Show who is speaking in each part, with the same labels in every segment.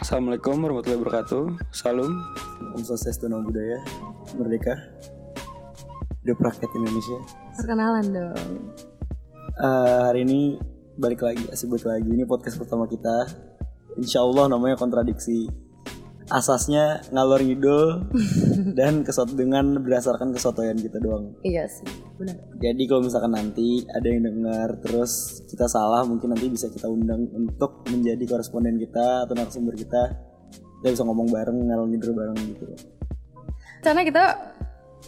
Speaker 1: Assalamualaikum warahmatullahi wabarakatuh. Salam.
Speaker 2: Om Swastiastu Namo Buddhaya, Merdeka, Hidup Rakyat Indonesia.
Speaker 3: Perkenalan dong.
Speaker 2: Eh, hari ini balik lagi, asik balik lagi. Ini podcast pertama kita. Insya Allah namanya kontradiksi. Asasnya ngalor ngidul dan kesot dengan berdasarkan kesotoyan kita doang.
Speaker 3: Iya sih, benar.
Speaker 2: Jadi kalau misalkan nanti ada yang dengar terus kita salah, mungkin nanti bisa kita undang untuk menjadi koresponden kita atau narasumber kita. Kita bisa ngomong bareng, ngalor ngidul bareng gitu.
Speaker 3: Karena kita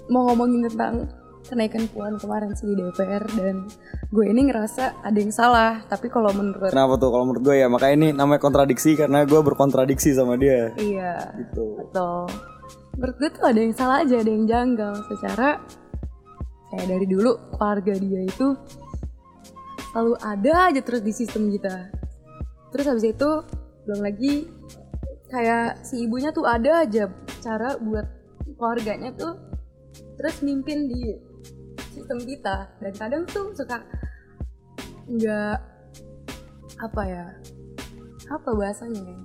Speaker 3: mau ngomongin tentang kenaikan puan kemarin sih di DPR dan gue ini ngerasa ada yang salah. Tapi kalau menurut
Speaker 2: Kenapa tuh kalau menurut gue ya makanya ini namanya kontradiksi karena gue berkontradiksi sama dia
Speaker 3: iya
Speaker 2: gitu.
Speaker 3: atau menurut gue tuh ada yang salah aja, ada yang janggal secara kayak dari dulu keluarga dia itu selalu ada aja terus di sistem kita. Terus habis itu belum lagi kayak si ibunya tuh ada aja cara buat keluarganya tuh terus mimpin di sistem kita dan kadang tuh suka nggak apa ya apa bahasanya ya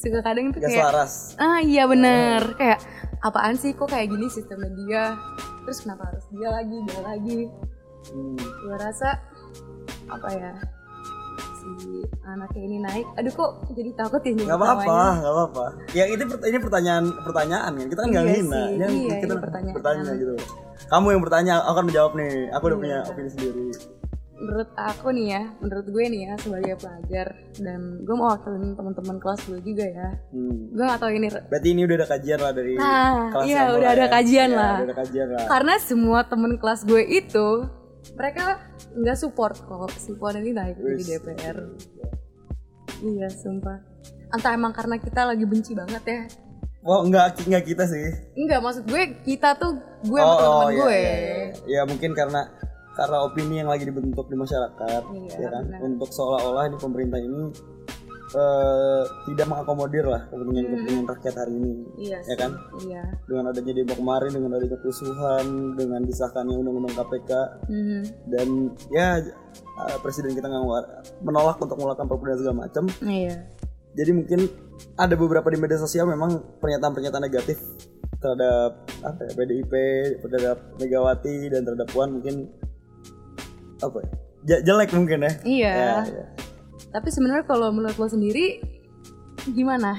Speaker 3: suka kadang tuh
Speaker 2: Gak
Speaker 3: kayak
Speaker 2: selaras.
Speaker 3: Ah iya bener Kayak apaan sih kok kayak gini sistemnya dia Terus kenapa harus dia lagi, dia lagi
Speaker 2: Hmm.
Speaker 3: Gue rasa apa ya Si anaknya ini naik Aduh kok jadi takut ya
Speaker 2: Gak apa-apa, gak apa-apa. Ya itu pert- ini pertanyaan pertanyaan kan kita kan nggak
Speaker 3: Iya
Speaker 2: hina,
Speaker 3: sih,
Speaker 2: yang
Speaker 3: iya,
Speaker 2: kita
Speaker 3: ini pertanyaan.
Speaker 2: bertanya gitu. Kamu yang bertanya, aku akan menjawab nih. Aku udah
Speaker 3: Iya.
Speaker 2: punya opini sendiri.
Speaker 3: Menurut aku nih ya Menurut gue nih ya sebagai pelajar Dan gue mau wakilin teman-teman kelas gue juga ya
Speaker 2: Hmm.
Speaker 3: Gue gak tau ini
Speaker 2: Berarti ini udah ada kajian lah dari
Speaker 3: Nah,
Speaker 2: kelas
Speaker 3: iya,
Speaker 2: kamu
Speaker 3: udah
Speaker 2: lah
Speaker 3: ada
Speaker 2: ya.
Speaker 3: kajian
Speaker 2: Iya,
Speaker 3: lah.
Speaker 2: Udah ada kajian lah.
Speaker 3: Karena semua temen kelas gue itu Mereka nggak support kok Si Puan ini naik
Speaker 2: Wis.
Speaker 3: jadi DPR Iya sumpah Entah emang karena kita lagi benci banget ya
Speaker 2: Wah, enggak enggak Oh, kita sih.
Speaker 3: Enggak maksud gue kita tuh gue sama temen
Speaker 2: iya,
Speaker 3: gue
Speaker 2: iya, iya. Ya mungkin karena karena opini yang lagi dibentuk di masyarakat,
Speaker 3: Iya,
Speaker 2: ya kan?
Speaker 3: benar.
Speaker 2: Untuk seolah-olah ini pemerintah ini eh, tidak mengakomodir lah kepentingan-kepentingan rakyat hari ini,
Speaker 3: Hmm. Iya
Speaker 2: ya kan?
Speaker 3: sih, Iya
Speaker 2: Dengan adanya demo kemarin, dengan adanya kerusuhan, dengan disahkannya undang-undang KPK,
Speaker 3: Mhm.
Speaker 2: dan ya eh, presiden kita nggak ngelu- menolak untuk mengeluarkan perpu dan segala macam.
Speaker 3: Iya
Speaker 2: Jadi mungkin ada beberapa di media sosial memang pernyataan-pernyataan negatif terhadap apa ya, PDIP, terhadap Megawati dan terhadap Puan mungkin apa ya? je- jelek mungkin ya.
Speaker 3: Iya
Speaker 2: Ya, ya.
Speaker 3: Tapi sebenarnya kalau menurut lo sendiri Gimana?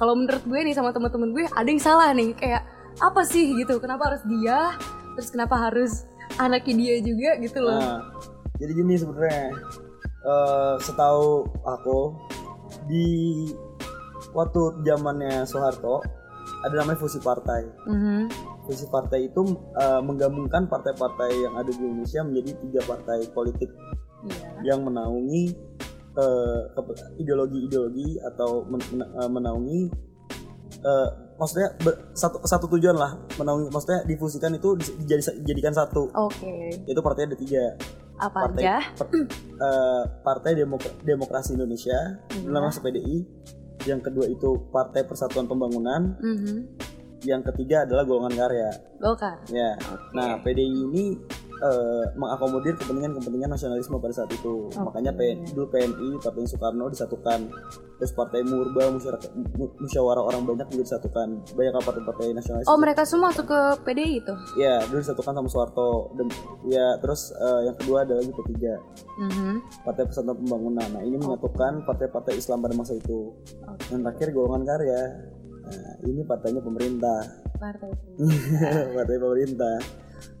Speaker 3: Kalau menurut gue nih sama temen-temen gue Ada yang salah nih Kayak apa sih gitu Kenapa harus dia Terus kenapa harus anaknya dia juga gitu loh
Speaker 2: Nah, jadi gini sebenarnya eh, setahu aku di waktu zamannya Soeharto ada namanya fusi partai.
Speaker 3: Mhm.
Speaker 2: Fusi partai itu eh, menggabungkan partai-partai yang ada di Indonesia menjadi tiga partai politik
Speaker 3: Iya
Speaker 2: yang menaungi eh, kepe- ideologi-ideologi atau men- men- eh, menaungi eh, maksudnya ber- satu satu tujuan lah menaungi maksudnya difusikan itu dis- dijadi- dijadikan satu
Speaker 3: Oke
Speaker 2: yaitu partainya ada tiga
Speaker 3: Apa
Speaker 2: partai
Speaker 3: aja?
Speaker 2: per- eh, partai Demok- demokrasi Indonesia
Speaker 3: Iya.
Speaker 2: dalam masuk PDI yang kedua itu partai Persatuan Pembangunan
Speaker 3: Mhm.
Speaker 2: yang ketiga adalah golongan karya
Speaker 3: Golkar
Speaker 2: ya
Speaker 3: Oke.
Speaker 2: Nah, PDI ini eh, mengakomodir kepentingan-kepentingan nasionalisme pada saat itu.
Speaker 3: Oke.
Speaker 2: Makanya PN, dulu PNI, Partai Soekarno disatukan. Terus Partai Murba, Musyarak- Mu- Musyawarah Orang Banyak juga disatukan. Banyak partai-partai nasionalis.
Speaker 3: Oh
Speaker 2: juga.
Speaker 3: mereka semua masuk ke PDI tuh?
Speaker 2: Ya, dulu disatukan sama Soeharto. Dem- Ya, terus eh, yang kedua ada lagi ketiga,
Speaker 3: Mhm.
Speaker 2: Partai Persatuan Pembangunan. Nah, ini menyatukan partai-partai Islam pada masa itu.
Speaker 3: Oh. Oke.
Speaker 2: Yang terakhir Golongan Karya. Nah, ini partainya pemerintah.
Speaker 3: Partai itu Ah.
Speaker 2: partai pemerintah.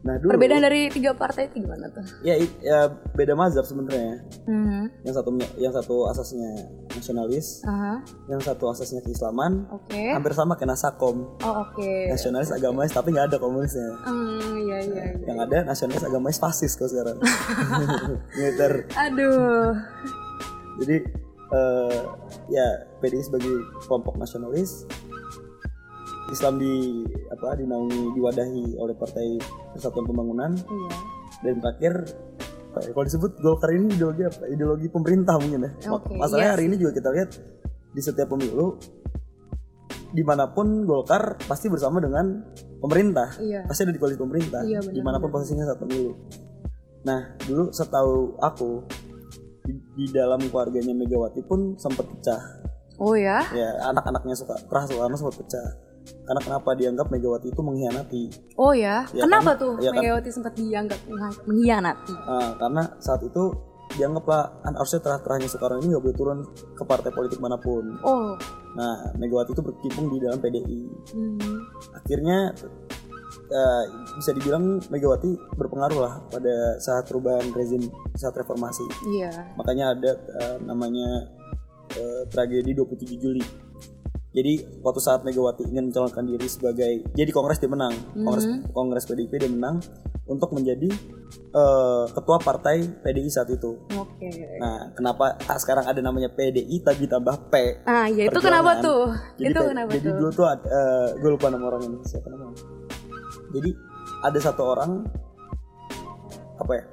Speaker 2: Nah, dulu
Speaker 3: Perbedaan dari tiga partai itu gimana tuh?
Speaker 2: ya, i- ya beda mazhab sebenarnya
Speaker 3: Mhm.
Speaker 2: yang satu yang satu asasnya nasionalis
Speaker 3: Aha,
Speaker 2: yang satu asasnya keislaman
Speaker 3: Oke.
Speaker 2: hampir sama kayak nasakom
Speaker 3: Oh oke.
Speaker 2: nasionalis agamis tapi nggak ada komunisnya
Speaker 3: Hmm, iya iya. iya.
Speaker 2: yang ada nasionalis agamis fasis kalau sekarang militer
Speaker 3: Aduh.
Speaker 2: jadi eh, ya PDI sebagai kelompok nasionalis Islam di apa dinaungi diwadahi oleh Partai Persatuan Pembangunan
Speaker 3: Iya.
Speaker 2: dan terakhir apa ya, kalau disebut Golkar ini ideologi apa? Ideologi pemerintah mungkin ya. Ma-
Speaker 3: Oke,
Speaker 2: Masalahnya
Speaker 3: iya
Speaker 2: hari ini juga kita lihat di setiap pemilu dimanapun Golkar pasti bersama dengan pemerintah.
Speaker 3: Iya.
Speaker 2: Pasti ada di koalisi pemerintah.
Speaker 3: Iya, benar,
Speaker 2: dimanapun
Speaker 3: benar.
Speaker 2: posisinya saat pemilu. Nah dulu setahu aku di, di dalam keluarganya Megawati pun sempat pecah.
Speaker 3: Oh ya?
Speaker 2: ya anak-anaknya suka Prah Soekarno sempat pecah karena kenapa dianggap Megawati itu mengkhianati
Speaker 3: Oh ya?
Speaker 2: Iya
Speaker 3: Kenapa
Speaker 2: kan?
Speaker 3: tuh
Speaker 2: Iya kan?
Speaker 3: Megawati sempat dianggap mengha- mengkhianati?
Speaker 2: Ah, karena saat itu dianggaplah "An- harusnya terah-terahnya Soekarno ini nggak boleh turun ke partai politik manapun
Speaker 3: Oh.
Speaker 2: nah Megawati itu berkecimpung di dalam PDI
Speaker 3: Hmm.
Speaker 2: akhirnya eh, bisa dibilang Megawati berpengaruh lah pada saat perubahan rezim saat reformasi
Speaker 3: Iya.
Speaker 2: makanya ada eh, namanya eh, tragedi 27 Juli jadi waktu saat Megawati ingin mencalonkan diri sebagai jadi Kongres dia menang Kongres
Speaker 3: Mhm.
Speaker 2: Kongres PDIP dia menang untuk menjadi eh, ketua partai PDI saat itu
Speaker 3: Oke.
Speaker 2: nah kenapa ah, sekarang ada namanya PDI tapi tambah P
Speaker 3: Ah, ya itu
Speaker 2: Perjuangan.
Speaker 3: kenapa tuh?
Speaker 2: jadi,
Speaker 3: itu
Speaker 2: kayak-
Speaker 3: kenapa
Speaker 2: jadi
Speaker 3: tuh?
Speaker 2: dulu tuh ada, eh, gue lupa nama orang ini siapa namanya jadi ada satu orang apa ya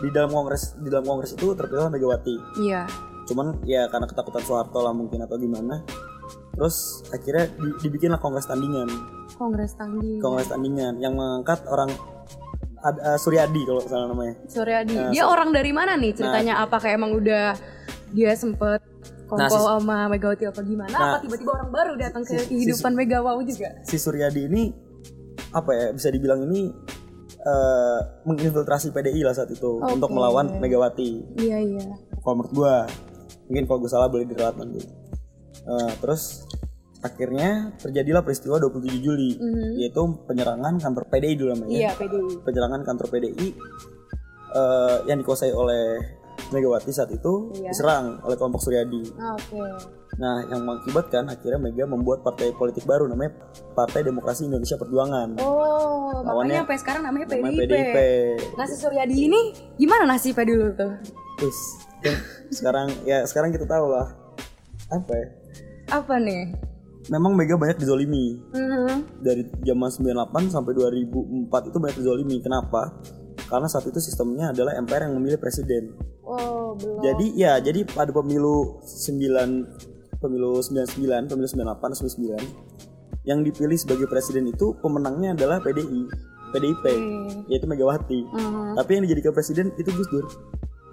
Speaker 2: di dalam kongres di dalam kongres itu terpilih Megawati
Speaker 3: Iya.
Speaker 2: cuman ya karena ketakutan Soeharto lah mungkin atau gimana terus akhirnya di- dibikinlah kongres tandingan
Speaker 3: Kongres tanggi.
Speaker 2: kongres tandingan yang mengangkat orang ada Suryadi kalau nggak salah namanya
Speaker 3: Suryadi.
Speaker 2: Nah,
Speaker 3: dia orang dari mana nih ceritanya? Apakah emang udah dia sempet
Speaker 2: Nah,
Speaker 3: kompol
Speaker 2: si-
Speaker 3: sama Megawati apa gimana?
Speaker 2: Nah,
Speaker 3: apa tiba-tiba orang baru datang ke
Speaker 2: si- si-
Speaker 3: kehidupan Megawati juga?
Speaker 2: si Suryadi ini apa ya bisa dibilang ini eh, menginfiltrasi PDI lah saat itu
Speaker 3: Oke.
Speaker 2: untuk melawan Megawati
Speaker 3: Iya iya.
Speaker 2: kalau menurut gue mungkin kalau gue salah boleh dirawat nanti Eh, terus akhirnya terjadilah peristiwa 27 Juli
Speaker 3: Mhm.
Speaker 2: yaitu penyerangan kantor PDI dulu namanya
Speaker 3: Iya PDI.
Speaker 2: penyerangan kantor PDI eh, yang dikuasai oleh Megawati saat itu
Speaker 3: Iya.
Speaker 2: diserang oleh kelompok Suryadi
Speaker 3: Ah, Oke.
Speaker 2: nah yang mengakibatkan akhirnya Mega membuat partai politik baru namanya Partai Demokrasi Indonesia Perjuangan
Speaker 3: Oh, makanya
Speaker 2: Lawannya-
Speaker 3: sampai sekarang namanya PDIP.
Speaker 2: namanya PDIP
Speaker 3: Nasi Suryadi ini gimana nasibnya dulu tuh?
Speaker 2: Terus, kan sekarang ya sekarang kita tahu lah apa ya
Speaker 3: Apa nih?
Speaker 2: memang Mega banyak dizolimi
Speaker 3: Hmm,
Speaker 2: dari zaman 98 sampai 2004 itu banyak dizolimi. Kenapa? Karena saat itu sistemnya adalah MPR yang memilih presiden.
Speaker 3: Oh, belum.
Speaker 2: Jadi ya, jadi pada pemilu 9 pemilu 99, pemilu 98, 99 yang dipilih sebagai presiden itu pemenangnya adalah PDI, PDIP,
Speaker 3: Oke.
Speaker 2: yaitu Megawati.
Speaker 3: Hmm.
Speaker 2: Tapi yang dijadikan presiden itu Gus Dur.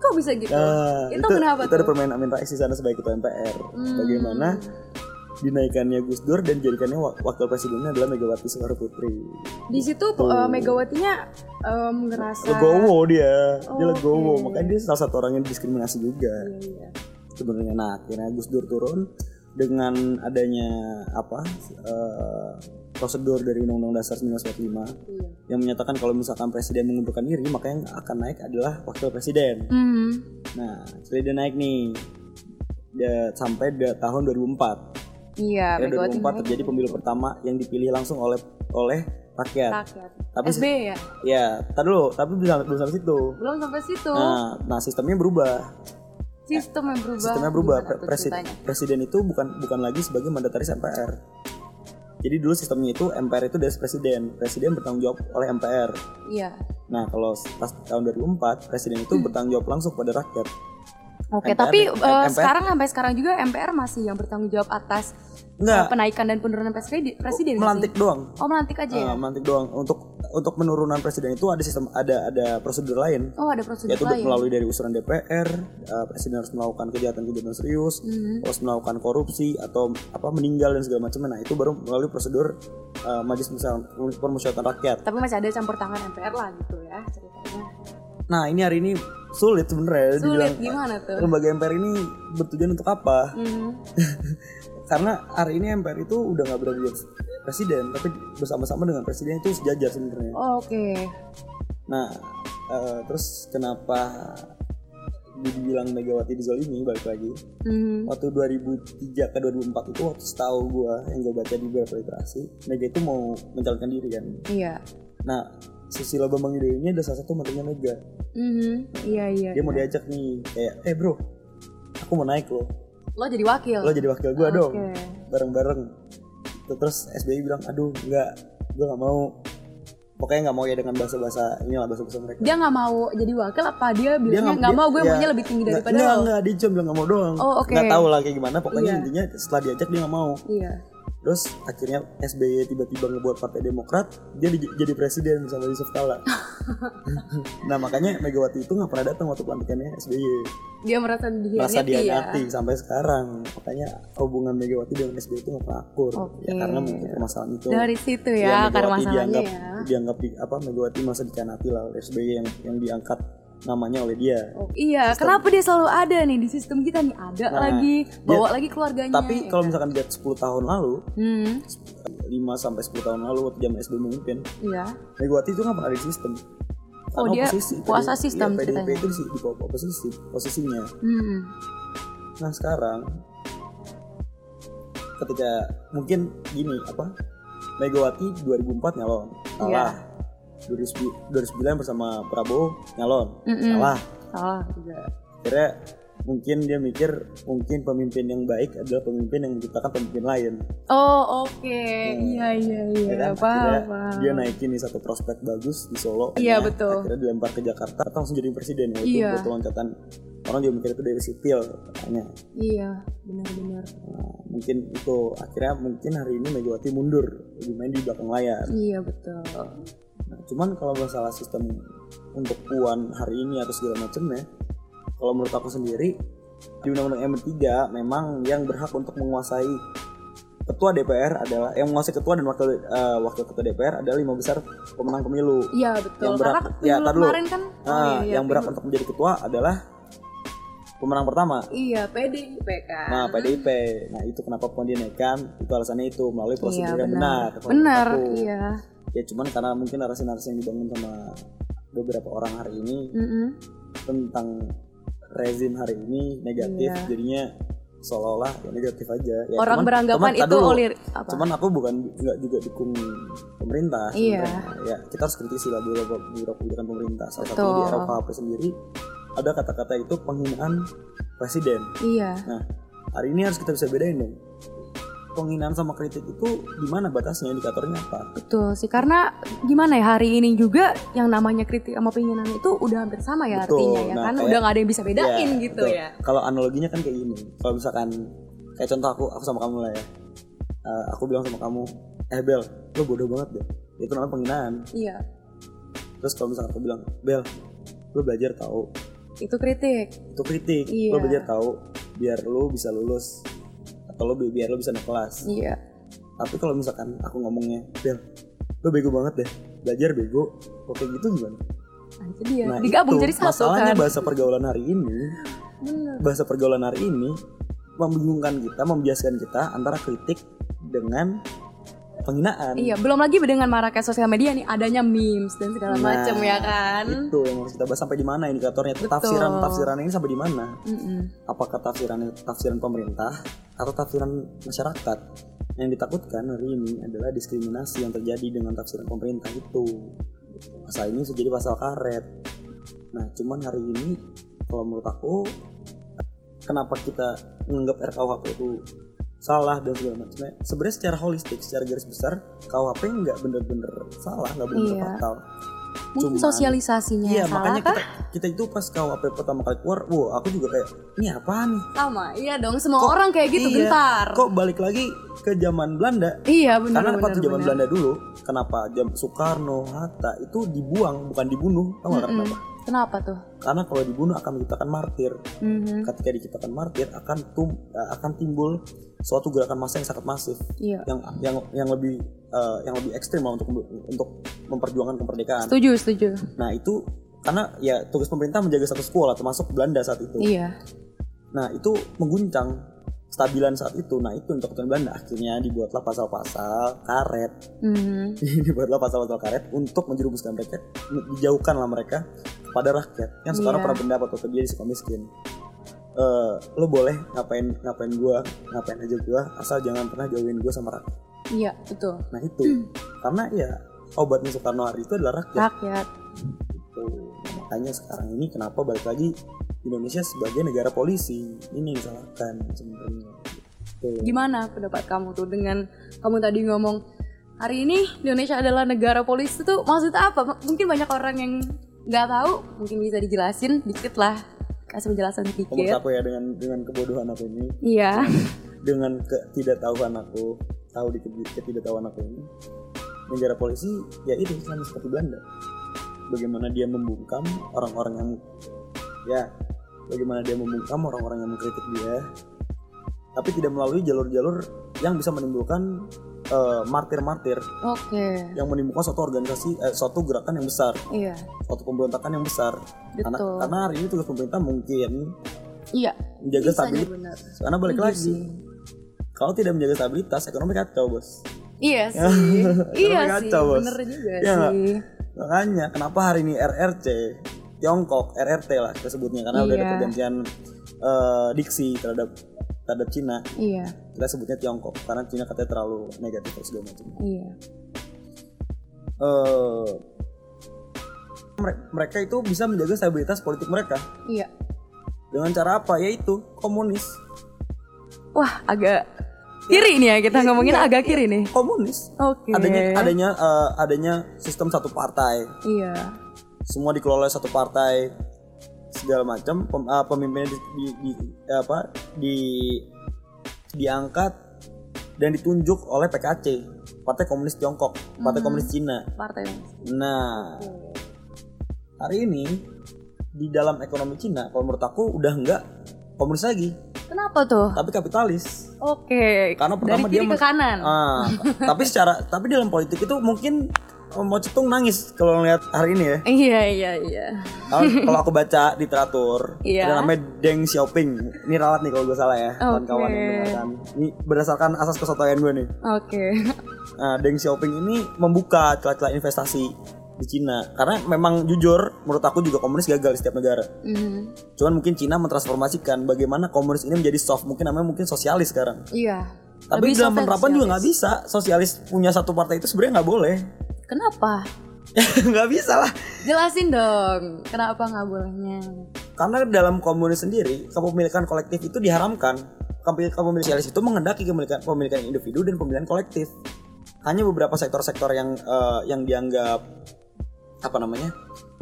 Speaker 3: Kok bisa gitu?
Speaker 2: Nah,
Speaker 3: itu, kenapa
Speaker 2: itu ada
Speaker 3: tuh? Hmm.
Speaker 2: permainan Amin Rais di sana sebagai ketua MPR. Bagaimana dinaikannya Gus Dur dan jadikannya wak- wakil presidennya adalah Megawati Soekarno Putri.
Speaker 3: Di situ eh, Megawatinya em, ngerasa
Speaker 2: legowo dia dia
Speaker 3: Oh,
Speaker 2: legowo
Speaker 3: oke.
Speaker 2: makanya dia salah satu orang yang diskriminasi juga
Speaker 3: Iya, iya.
Speaker 2: sebenarnya nah akhirnya Gus Dur turun dengan adanya apa eh, prosedur dari Undang-Undang Dasar 1945
Speaker 3: Iya.
Speaker 2: yang menyatakan kalau misalkan presiden mengundurkan diri maka yang akan naik adalah wakil presiden
Speaker 3: Hmm.
Speaker 2: nah akhirnya dia naik nih Dia- sampai da- tahun 2004
Speaker 3: Iya,
Speaker 2: Akhirnya
Speaker 3: Megawati
Speaker 2: 2004 terjadi pemilu pertama yang dipilih langsung oleh oleh rakyat
Speaker 3: rakyat.
Speaker 2: Tapi-
Speaker 3: SB ya?
Speaker 2: ya tar dulu tapi belum belum sampai situ
Speaker 3: Belum sampai situ.
Speaker 2: Nah, nah sistemnya berubah.
Speaker 3: sistem yang berubah.
Speaker 2: Sistemnya berubah.
Speaker 3: Gimana
Speaker 2: Pre-
Speaker 3: tuh
Speaker 2: presi-
Speaker 3: ceritanya?
Speaker 2: presiden itu bukan bukan lagi sebagai mandataris MPR. Jadi dulu sistemnya itu MPR itu dari presiden. Presiden bertanggung jawab oleh MPR.
Speaker 3: Iya.
Speaker 2: Nah, kalau pas tahun 2004
Speaker 3: Hmm.
Speaker 2: presiden itu bertanggung jawab langsung kepada rakyat.
Speaker 3: Oke,
Speaker 2: MPR
Speaker 3: tapi
Speaker 2: dan-
Speaker 3: eh,
Speaker 2: MPR.
Speaker 3: sekarang sampai sekarang juga MPR masih yang bertanggung jawab atas
Speaker 2: Enggak.
Speaker 3: eh, penaikan dan penurunan presiden presiden nggak sih?
Speaker 2: Iya. Melantik doang.
Speaker 3: Oh, melantik aja ya.
Speaker 2: Ah, melantik doang. Untuk untuk penurunan presiden itu ada sistem ada ada prosedur lain.
Speaker 3: Oh, ada prosedur
Speaker 2: yaitu
Speaker 3: lain.
Speaker 2: ya, melalui dari usulan DPR, eh, presiden harus melakukan kejahatan-kejahatan serius,
Speaker 3: Hmm.
Speaker 2: harus melakukan korupsi atau apa meninggal dan segala macam. Nah itu baru melalui prosedur eh, Majelis Permusyawaratan- Permusyawaratan Rakyat.
Speaker 3: Tapi masih ada campur tangan MPR lah gitu ya ceritanya.
Speaker 2: Nah ini hari ini sulit
Speaker 3: Sulit
Speaker 2: sebenarnya dibilang eh,
Speaker 3: gimana tuh?
Speaker 2: lembaga MPR ini bertujuan untuk apa?
Speaker 3: Mhm.
Speaker 2: Karena hari ini MPR itu udah nggak berada di atas presiden, tapi bersama-sama dengan presiden itu sejajar sebenarnya.
Speaker 3: Oh, Oke.
Speaker 2: Nah, eh, terus kenapa dibilang Megawati dizolimi balik lagi?
Speaker 3: Mhm.
Speaker 2: Waktu 2003 ke 2004 itu waktu setahu gue yang gue baca di beberapa literasi, Mega itu mau mencalonkan diri kan.
Speaker 3: Iya.
Speaker 2: Nah, Susilo Bambang Yudhoyono ini ada salah satu menterinya Mega.
Speaker 3: Mhm. Iya, iya.
Speaker 2: Dia mau diajak nih kayak, eh bro, aku mau naik loh,
Speaker 3: Lo jadi wakil.
Speaker 2: lo jadi wakil gue dong,
Speaker 3: Oke.
Speaker 2: bareng-bareng. Terus SBY bilang, aduh nggak, gue nggak mau. Pokoknya nggak mau ya dengan bahasa-bahasa inilah bahasa-bahasa mereka.
Speaker 3: Dia nggak mau jadi wakil apa dia bilangnya
Speaker 2: nggak-
Speaker 3: nggak mau gue
Speaker 2: dia-
Speaker 3: maunya lebih tinggi
Speaker 2: Nggak-
Speaker 3: daripada
Speaker 2: nggak,
Speaker 3: lo.
Speaker 2: nggak dia cuma bilang nggak mau doang
Speaker 3: Oh, oke.
Speaker 2: nggak tahu lah kayak gimana pokoknya
Speaker 3: Iya.
Speaker 2: intinya setelah diajak dia nggak mau
Speaker 3: Iya.
Speaker 2: Terus akhirnya SBY tiba-tiba ngebuat Partai Demokrat, dia di- jadi presiden sama Yusuf Kala. nah makanya Megawati itu nggak pernah datang waktu pelantikannya SBY.
Speaker 3: Dia merasa dihianati ya.
Speaker 2: Merasa dihianati sampai sekarang. Makanya hubungan Megawati dengan SBY itu nggak pernah akur. Ya
Speaker 3: Oke.
Speaker 2: karena mungkin permasalahan itu.
Speaker 3: Dari situ
Speaker 2: Ya,
Speaker 3: ya,
Speaker 2: Megawati
Speaker 3: karena masalahnya
Speaker 2: dianggap,
Speaker 3: ya.
Speaker 2: dianggap di, apa Megawati masa dikhianati lah oleh SBY yang yang diangkat namanya oleh dia.
Speaker 3: Oh, iya, kenapa dia selalu ada nih di sistem kita nih? Ada
Speaker 2: Nah,
Speaker 3: lagi, bawa lagi keluarganya. ya
Speaker 2: Tapi kalau
Speaker 3: kan?
Speaker 2: misalkan lihat 10 tahun lalu,
Speaker 3: Hmm,
Speaker 2: 5 sampai 10 tahun lalu waktu zaman SBY memimpin,
Speaker 3: iya.
Speaker 2: Megawati itu kan pernah ada di sistem.
Speaker 3: Oh,
Speaker 2: Karena
Speaker 3: dia kuasa
Speaker 2: Iya,
Speaker 3: sistem
Speaker 2: PDIP
Speaker 3: ceritanya.
Speaker 2: itu di, di bawah oposisi, posisinya.
Speaker 3: Hmm.
Speaker 2: Nah sekarang ketika mungkin gini apa Megawati 2004 nyalon
Speaker 3: Iya.
Speaker 2: salah 2009 2009 bersama Prabowo nyalon
Speaker 3: Mm-mm.
Speaker 2: salah
Speaker 3: Salah juga.
Speaker 2: akhirnya mungkin dia mikir mungkin pemimpin yang baik adalah pemimpin yang menciptakan pemimpin lain
Speaker 3: Oh, oke. Iya, iya, iya.
Speaker 2: ya kan?
Speaker 3: Paham,
Speaker 2: Akhirnya
Speaker 3: paham.
Speaker 2: dia naikin nih satu prospek bagus di Solo
Speaker 3: Iya,
Speaker 2: Akhirnya-
Speaker 3: betul.
Speaker 2: akhirnya dilempar ke Jakarta langsung jadi presiden ya itu
Speaker 3: Iya.
Speaker 2: buat loncatan orang juga mikir itu dari sipil katanya
Speaker 3: Iya, benar-benar.
Speaker 2: Nah, mungkin itu akhirnya mungkin hari ini Megawati mundur lebih main di belakang layar
Speaker 3: Iya, betul.
Speaker 2: Nah, cuman kalau masalah sistem untuk puan hari ini atau segala macamnya, kalau menurut aku sendiri di Undang-Undang MD 3 memang yang berhak untuk menguasai ketua DPR adalah yang menguasai ketua dan wakil eh, wakil ketua DPR adalah lima besar pemenang pemilu.
Speaker 3: Iya, betul.
Speaker 2: Yang berat-
Speaker 3: Karena
Speaker 2: ya,
Speaker 3: pemilu
Speaker 2: tar dulu.
Speaker 3: kemarin kan oh, iya,
Speaker 2: Nah,
Speaker 3: iya,
Speaker 2: yang berhak
Speaker 3: pemilu-
Speaker 2: untuk menjadi ketua adalah pemenang pertama.
Speaker 3: Iya, PDIP kan.
Speaker 2: Nah, PDIP. Nah, itu kenapa puan dinaikkan? Itu alasannya itu melalui
Speaker 3: Iya,
Speaker 2: prosedur yang
Speaker 3: benar.
Speaker 2: benar. kalau menurut
Speaker 3: Benar,
Speaker 2: aku.
Speaker 3: iya.
Speaker 2: Ya cuman karena mungkin narasi-narasi yang dibangun sama beberapa orang hari ini
Speaker 3: Mm-mm.
Speaker 2: tentang rezim hari ini negatif
Speaker 3: Iya.
Speaker 2: jadinya seolah-olah ya negatif aja ya,
Speaker 3: Orang
Speaker 2: cuman-
Speaker 3: beranggapan
Speaker 2: cuman, tar
Speaker 3: itu
Speaker 2: dulu.
Speaker 3: olir apa?
Speaker 2: cuman aku bukan nggak juga dukung pemerintah
Speaker 3: Iya.
Speaker 2: sebenarnya. ya kita harus kritisi lah beberapa beberapa kebijakan pemerintah salah satunya di
Speaker 3: Betul.
Speaker 2: RKUHP sendiri ada kata-kata itu penghinaan presiden
Speaker 3: Iya.
Speaker 2: nah hari ini harus kita bisa bedain dong penghinaan sama kritik itu di mana batasnya indikatornya apa
Speaker 3: Betul sih, karena gimana ya hari ini juga yang namanya kritik sama keinginan itu udah hampir sama ya
Speaker 2: Betul.
Speaker 3: artinya ya
Speaker 2: Nah,
Speaker 3: kan,
Speaker 2: kayak-
Speaker 3: udah gak ada yang bisa bedain
Speaker 2: Iya,
Speaker 3: gitu
Speaker 2: betul.
Speaker 3: ya.
Speaker 2: Kalau analoginya kan kayak gini. Kalau misalkan kayak contoh aku, aku sama kamu lah ya. Eh, aku bilang sama kamu, eh Bel, lo bodoh banget deh. Itu namanya penghinaan.
Speaker 3: Iya,
Speaker 2: Terus kalau misalkan aku bilang, Bel, lo belajar tahu.
Speaker 3: itu kritik.
Speaker 2: Itu kritik.
Speaker 3: Iya.
Speaker 2: Lo belajar tahu biar lo bisa lulus atau lo bi- biar lo bisa naik kelas.
Speaker 3: Iya,
Speaker 2: Tapi kalau misalkan aku ngomongnya, Bel, lo bego banget deh. Belajar bego. Oke gitu gimana?
Speaker 3: nah, itu dia.
Speaker 2: Nah,
Speaker 3: Digabung
Speaker 2: itu.
Speaker 3: jadi satu
Speaker 2: Masalahnya
Speaker 3: kan.
Speaker 2: bahasa pergaulan hari ini
Speaker 3: Bener.
Speaker 2: bahasa pergaulan hari ini membingungkan kita, membiaskan kita antara kritik dengan penghinaan.
Speaker 3: Iya, belum lagi dengan maraknya sosial media nih adanya memes dan segala
Speaker 2: Nah,
Speaker 3: macem ya kan.
Speaker 2: Itu yang harus kita bahas sampai di mana indikatornya
Speaker 3: Betul.
Speaker 2: tafsiran tafsiran ini sampai di mana?
Speaker 3: Mm-mm.
Speaker 2: Apakah tafsiran tafsiran pemerintah atau tafsiran masyarakat? Yang ditakutkan hari ini adalah diskriminasi yang terjadi dengan tafsiran pemerintah itu. Pasal ini bisa jadi pasal karet. Nah, cuman hari ini kalau menurut aku kenapa kita menganggap RKUHP itu salah dan segala macamnya sebenarnya secara holistik secara garis besar KUHP nggak bener-bener salah nggak bener-bener
Speaker 3: Iya.
Speaker 2: fatal
Speaker 3: Mungkin
Speaker 2: Cuman-
Speaker 3: sosialisasinya
Speaker 2: iya
Speaker 3: yang salah
Speaker 2: makanya
Speaker 3: kah?
Speaker 2: kita kita itu pas KUHP pertama kali keluar wow aku juga kayak ini apa nih
Speaker 3: Sama, iya dong. Semua
Speaker 2: Kok-
Speaker 3: orang kayak gitu
Speaker 2: iya,
Speaker 3: gentar.
Speaker 2: kok balik lagi ke zaman Belanda
Speaker 3: Iya, benar
Speaker 2: karena
Speaker 3: benar.
Speaker 2: waktu zaman
Speaker 3: benar.
Speaker 2: Belanda dulu kenapa jam Soekarno Hatta itu dibuang bukan dibunuh tau nggak
Speaker 3: Mm-mm.
Speaker 2: kenapa
Speaker 3: Kenapa tuh?
Speaker 2: karena kalau dibunuh akan menciptakan martir
Speaker 3: Mhm.
Speaker 2: ketika diciptakan martir akan tum eh, akan timbul suatu gerakan massa yang sangat masif
Speaker 3: Iya.
Speaker 2: yang yang yang lebih eh, yang lebih ekstrim lah untuk untuk memperjuangkan kemerdekaan.
Speaker 3: Setuju, setuju.
Speaker 2: Nah itu karena ya tugas pemerintah menjaga status quo lah termasuk Belanda saat itu.
Speaker 3: Iya.
Speaker 2: Nah itu mengguncang stabilan saat itu. Nah itu untuk Belanda akhirnya dibuatlah pasal-pasal karet
Speaker 3: Mhm.
Speaker 2: dibuatlah pasal-pasal karet untuk menjerumuskan mereka dijauhkanlah mereka kepada rakyat yang sekarang
Speaker 3: Iya.
Speaker 2: pernah pendapat waktu dia di suka miskin Eh, lo boleh ngapain ngapain gua ngapain aja gua asal jangan pernah jauhin gua sama rakyat
Speaker 3: Iya, betul.
Speaker 2: nah itu karena ya obatnya Soekarno hari itu adalah rakyat
Speaker 3: Rakyat.
Speaker 2: Tuh, Gitu. makanya sekarang ini kenapa balik lagi Indonesia sebagai negara polisi ini yang disalahkan sebenarnya Gitu. Tuh.
Speaker 3: Gimana pendapat kamu tuh dengan kamu tadi ngomong hari ini Indonesia adalah negara polisi tuh maksud apa? M- Mungkin banyak orang yang nggak tahu, mungkin bisa dijelasin dikit lah. Kasih penjelasan
Speaker 2: menurut
Speaker 3: sedikit.
Speaker 2: aku ya dengan dengan kebodohan aku ini
Speaker 3: Iya.
Speaker 2: dengan ketidaktahuan aku tahu dikit-dikit tidak tahu anak ini negara polisi ya itu sama seperti Belanda bagaimana dia membungkam orang-orang yang ya bagaimana dia membungkam orang-orang yang mengkritik dia tapi tidak melalui jalur-jalur yang bisa menimbulkan eh, martir-martir
Speaker 3: Oke.
Speaker 2: yang menimbulkan suatu organisasi eh, suatu gerakan yang besar
Speaker 3: Iya.
Speaker 2: suatu pemberontakan yang besar karena,
Speaker 3: Betul.
Speaker 2: karena hari ini tugas pemerintah mungkin
Speaker 3: Iya.
Speaker 2: menjaga
Speaker 3: Bisa nih
Speaker 2: stabilitas
Speaker 3: benar.
Speaker 2: karena balik
Speaker 3: Iya
Speaker 2: lagi
Speaker 3: sih.
Speaker 2: kalau tidak menjaga stabilitas ekonomi kacau bos
Speaker 3: Iya sih. iya
Speaker 2: Kenapa
Speaker 3: sih.
Speaker 2: kacau, Bos?
Speaker 3: Bener juga
Speaker 2: Iya nggak?
Speaker 3: sih.
Speaker 2: makanya kenapa hari ini RRC Tiongkok RRT lah kita sebutnya karena udah ada
Speaker 3: Iya.
Speaker 2: perjanjian eh, diksi terhadap terhadap Cina
Speaker 3: Iya.
Speaker 2: kita sebutnya Tiongkok karena Cina katanya terlalu negatif dan segala macam
Speaker 3: Iya.
Speaker 2: Eh, mere- mereka itu bisa menjaga stabilitas politik mereka
Speaker 3: Iya.
Speaker 2: dengan cara apa yaitu komunis
Speaker 3: Wah, agak
Speaker 2: Iya.
Speaker 3: kiri nih ya kita ngomongin agak kiri nih.
Speaker 2: komunis
Speaker 3: Oh, Oke.
Speaker 2: iya, adanya adanya eh, adanya sistem satu partai
Speaker 3: Iya.
Speaker 2: semua dikelola oleh satu partai segala macam pem, eh, pemimpinnya di, di- di- apa di diangkat dan ditunjuk oleh PKC Partai Komunis Tiongkok Partai Komunis Cina
Speaker 3: Partai.
Speaker 2: nah hari ini di dalam ekonomi Cina kalau menurut aku udah enggak komunis lagi
Speaker 3: Kenapa tuh?
Speaker 2: tapi kapitalis
Speaker 3: Oke.
Speaker 2: Karena
Speaker 3: Dari
Speaker 2: pertama
Speaker 3: kiri
Speaker 2: dia
Speaker 3: ke
Speaker 2: men-
Speaker 3: kanan.
Speaker 2: ah tapi secara tapi dalam politik itu mungkin eh, mau cetung nangis kalau ngeliat hari ini ya
Speaker 3: Iya, iya, iya.
Speaker 2: kalau kalau aku baca literatur
Speaker 3: Iya.
Speaker 2: ada namanya Deng Xiaoping ini ralat nih kalau gue salah ya kawan-kawan yang
Speaker 3: Oke.
Speaker 2: mendengarkan ini berdasarkan asas kesotoyan gue nih
Speaker 3: Oke.
Speaker 2: nah, Deng Xiaoping ini membuka celah-celah investasi di Cina karena memang jujur menurut aku juga komunis gagal di setiap negara
Speaker 3: Mhm.
Speaker 2: cuman mungkin Cina mentransformasikan bagaimana komunis ini menjadi soft mungkin namanya mungkin sosialis sekarang
Speaker 3: Iya.
Speaker 2: tapi
Speaker 3: Lebih soft
Speaker 2: dalam
Speaker 3: dan
Speaker 2: penerapan juga nggak
Speaker 3: sosialis.
Speaker 2: bisa sosialis punya satu partai itu sebenarnya nggak boleh
Speaker 3: Kenapa?
Speaker 2: nggak bisa lah
Speaker 3: Jelasin dong. Kenapa nggak bolehnya?
Speaker 2: Karena dalam komunis sendiri, kepemilikan kolektif itu diharamkan. Kepemil- Kepemilikan sosialis itu menghendaki kepemilikan, pemilikan individu dan pemilikan kolektif. Hanya beberapa sektor-sektor yang eh, yang dianggap apa namanya?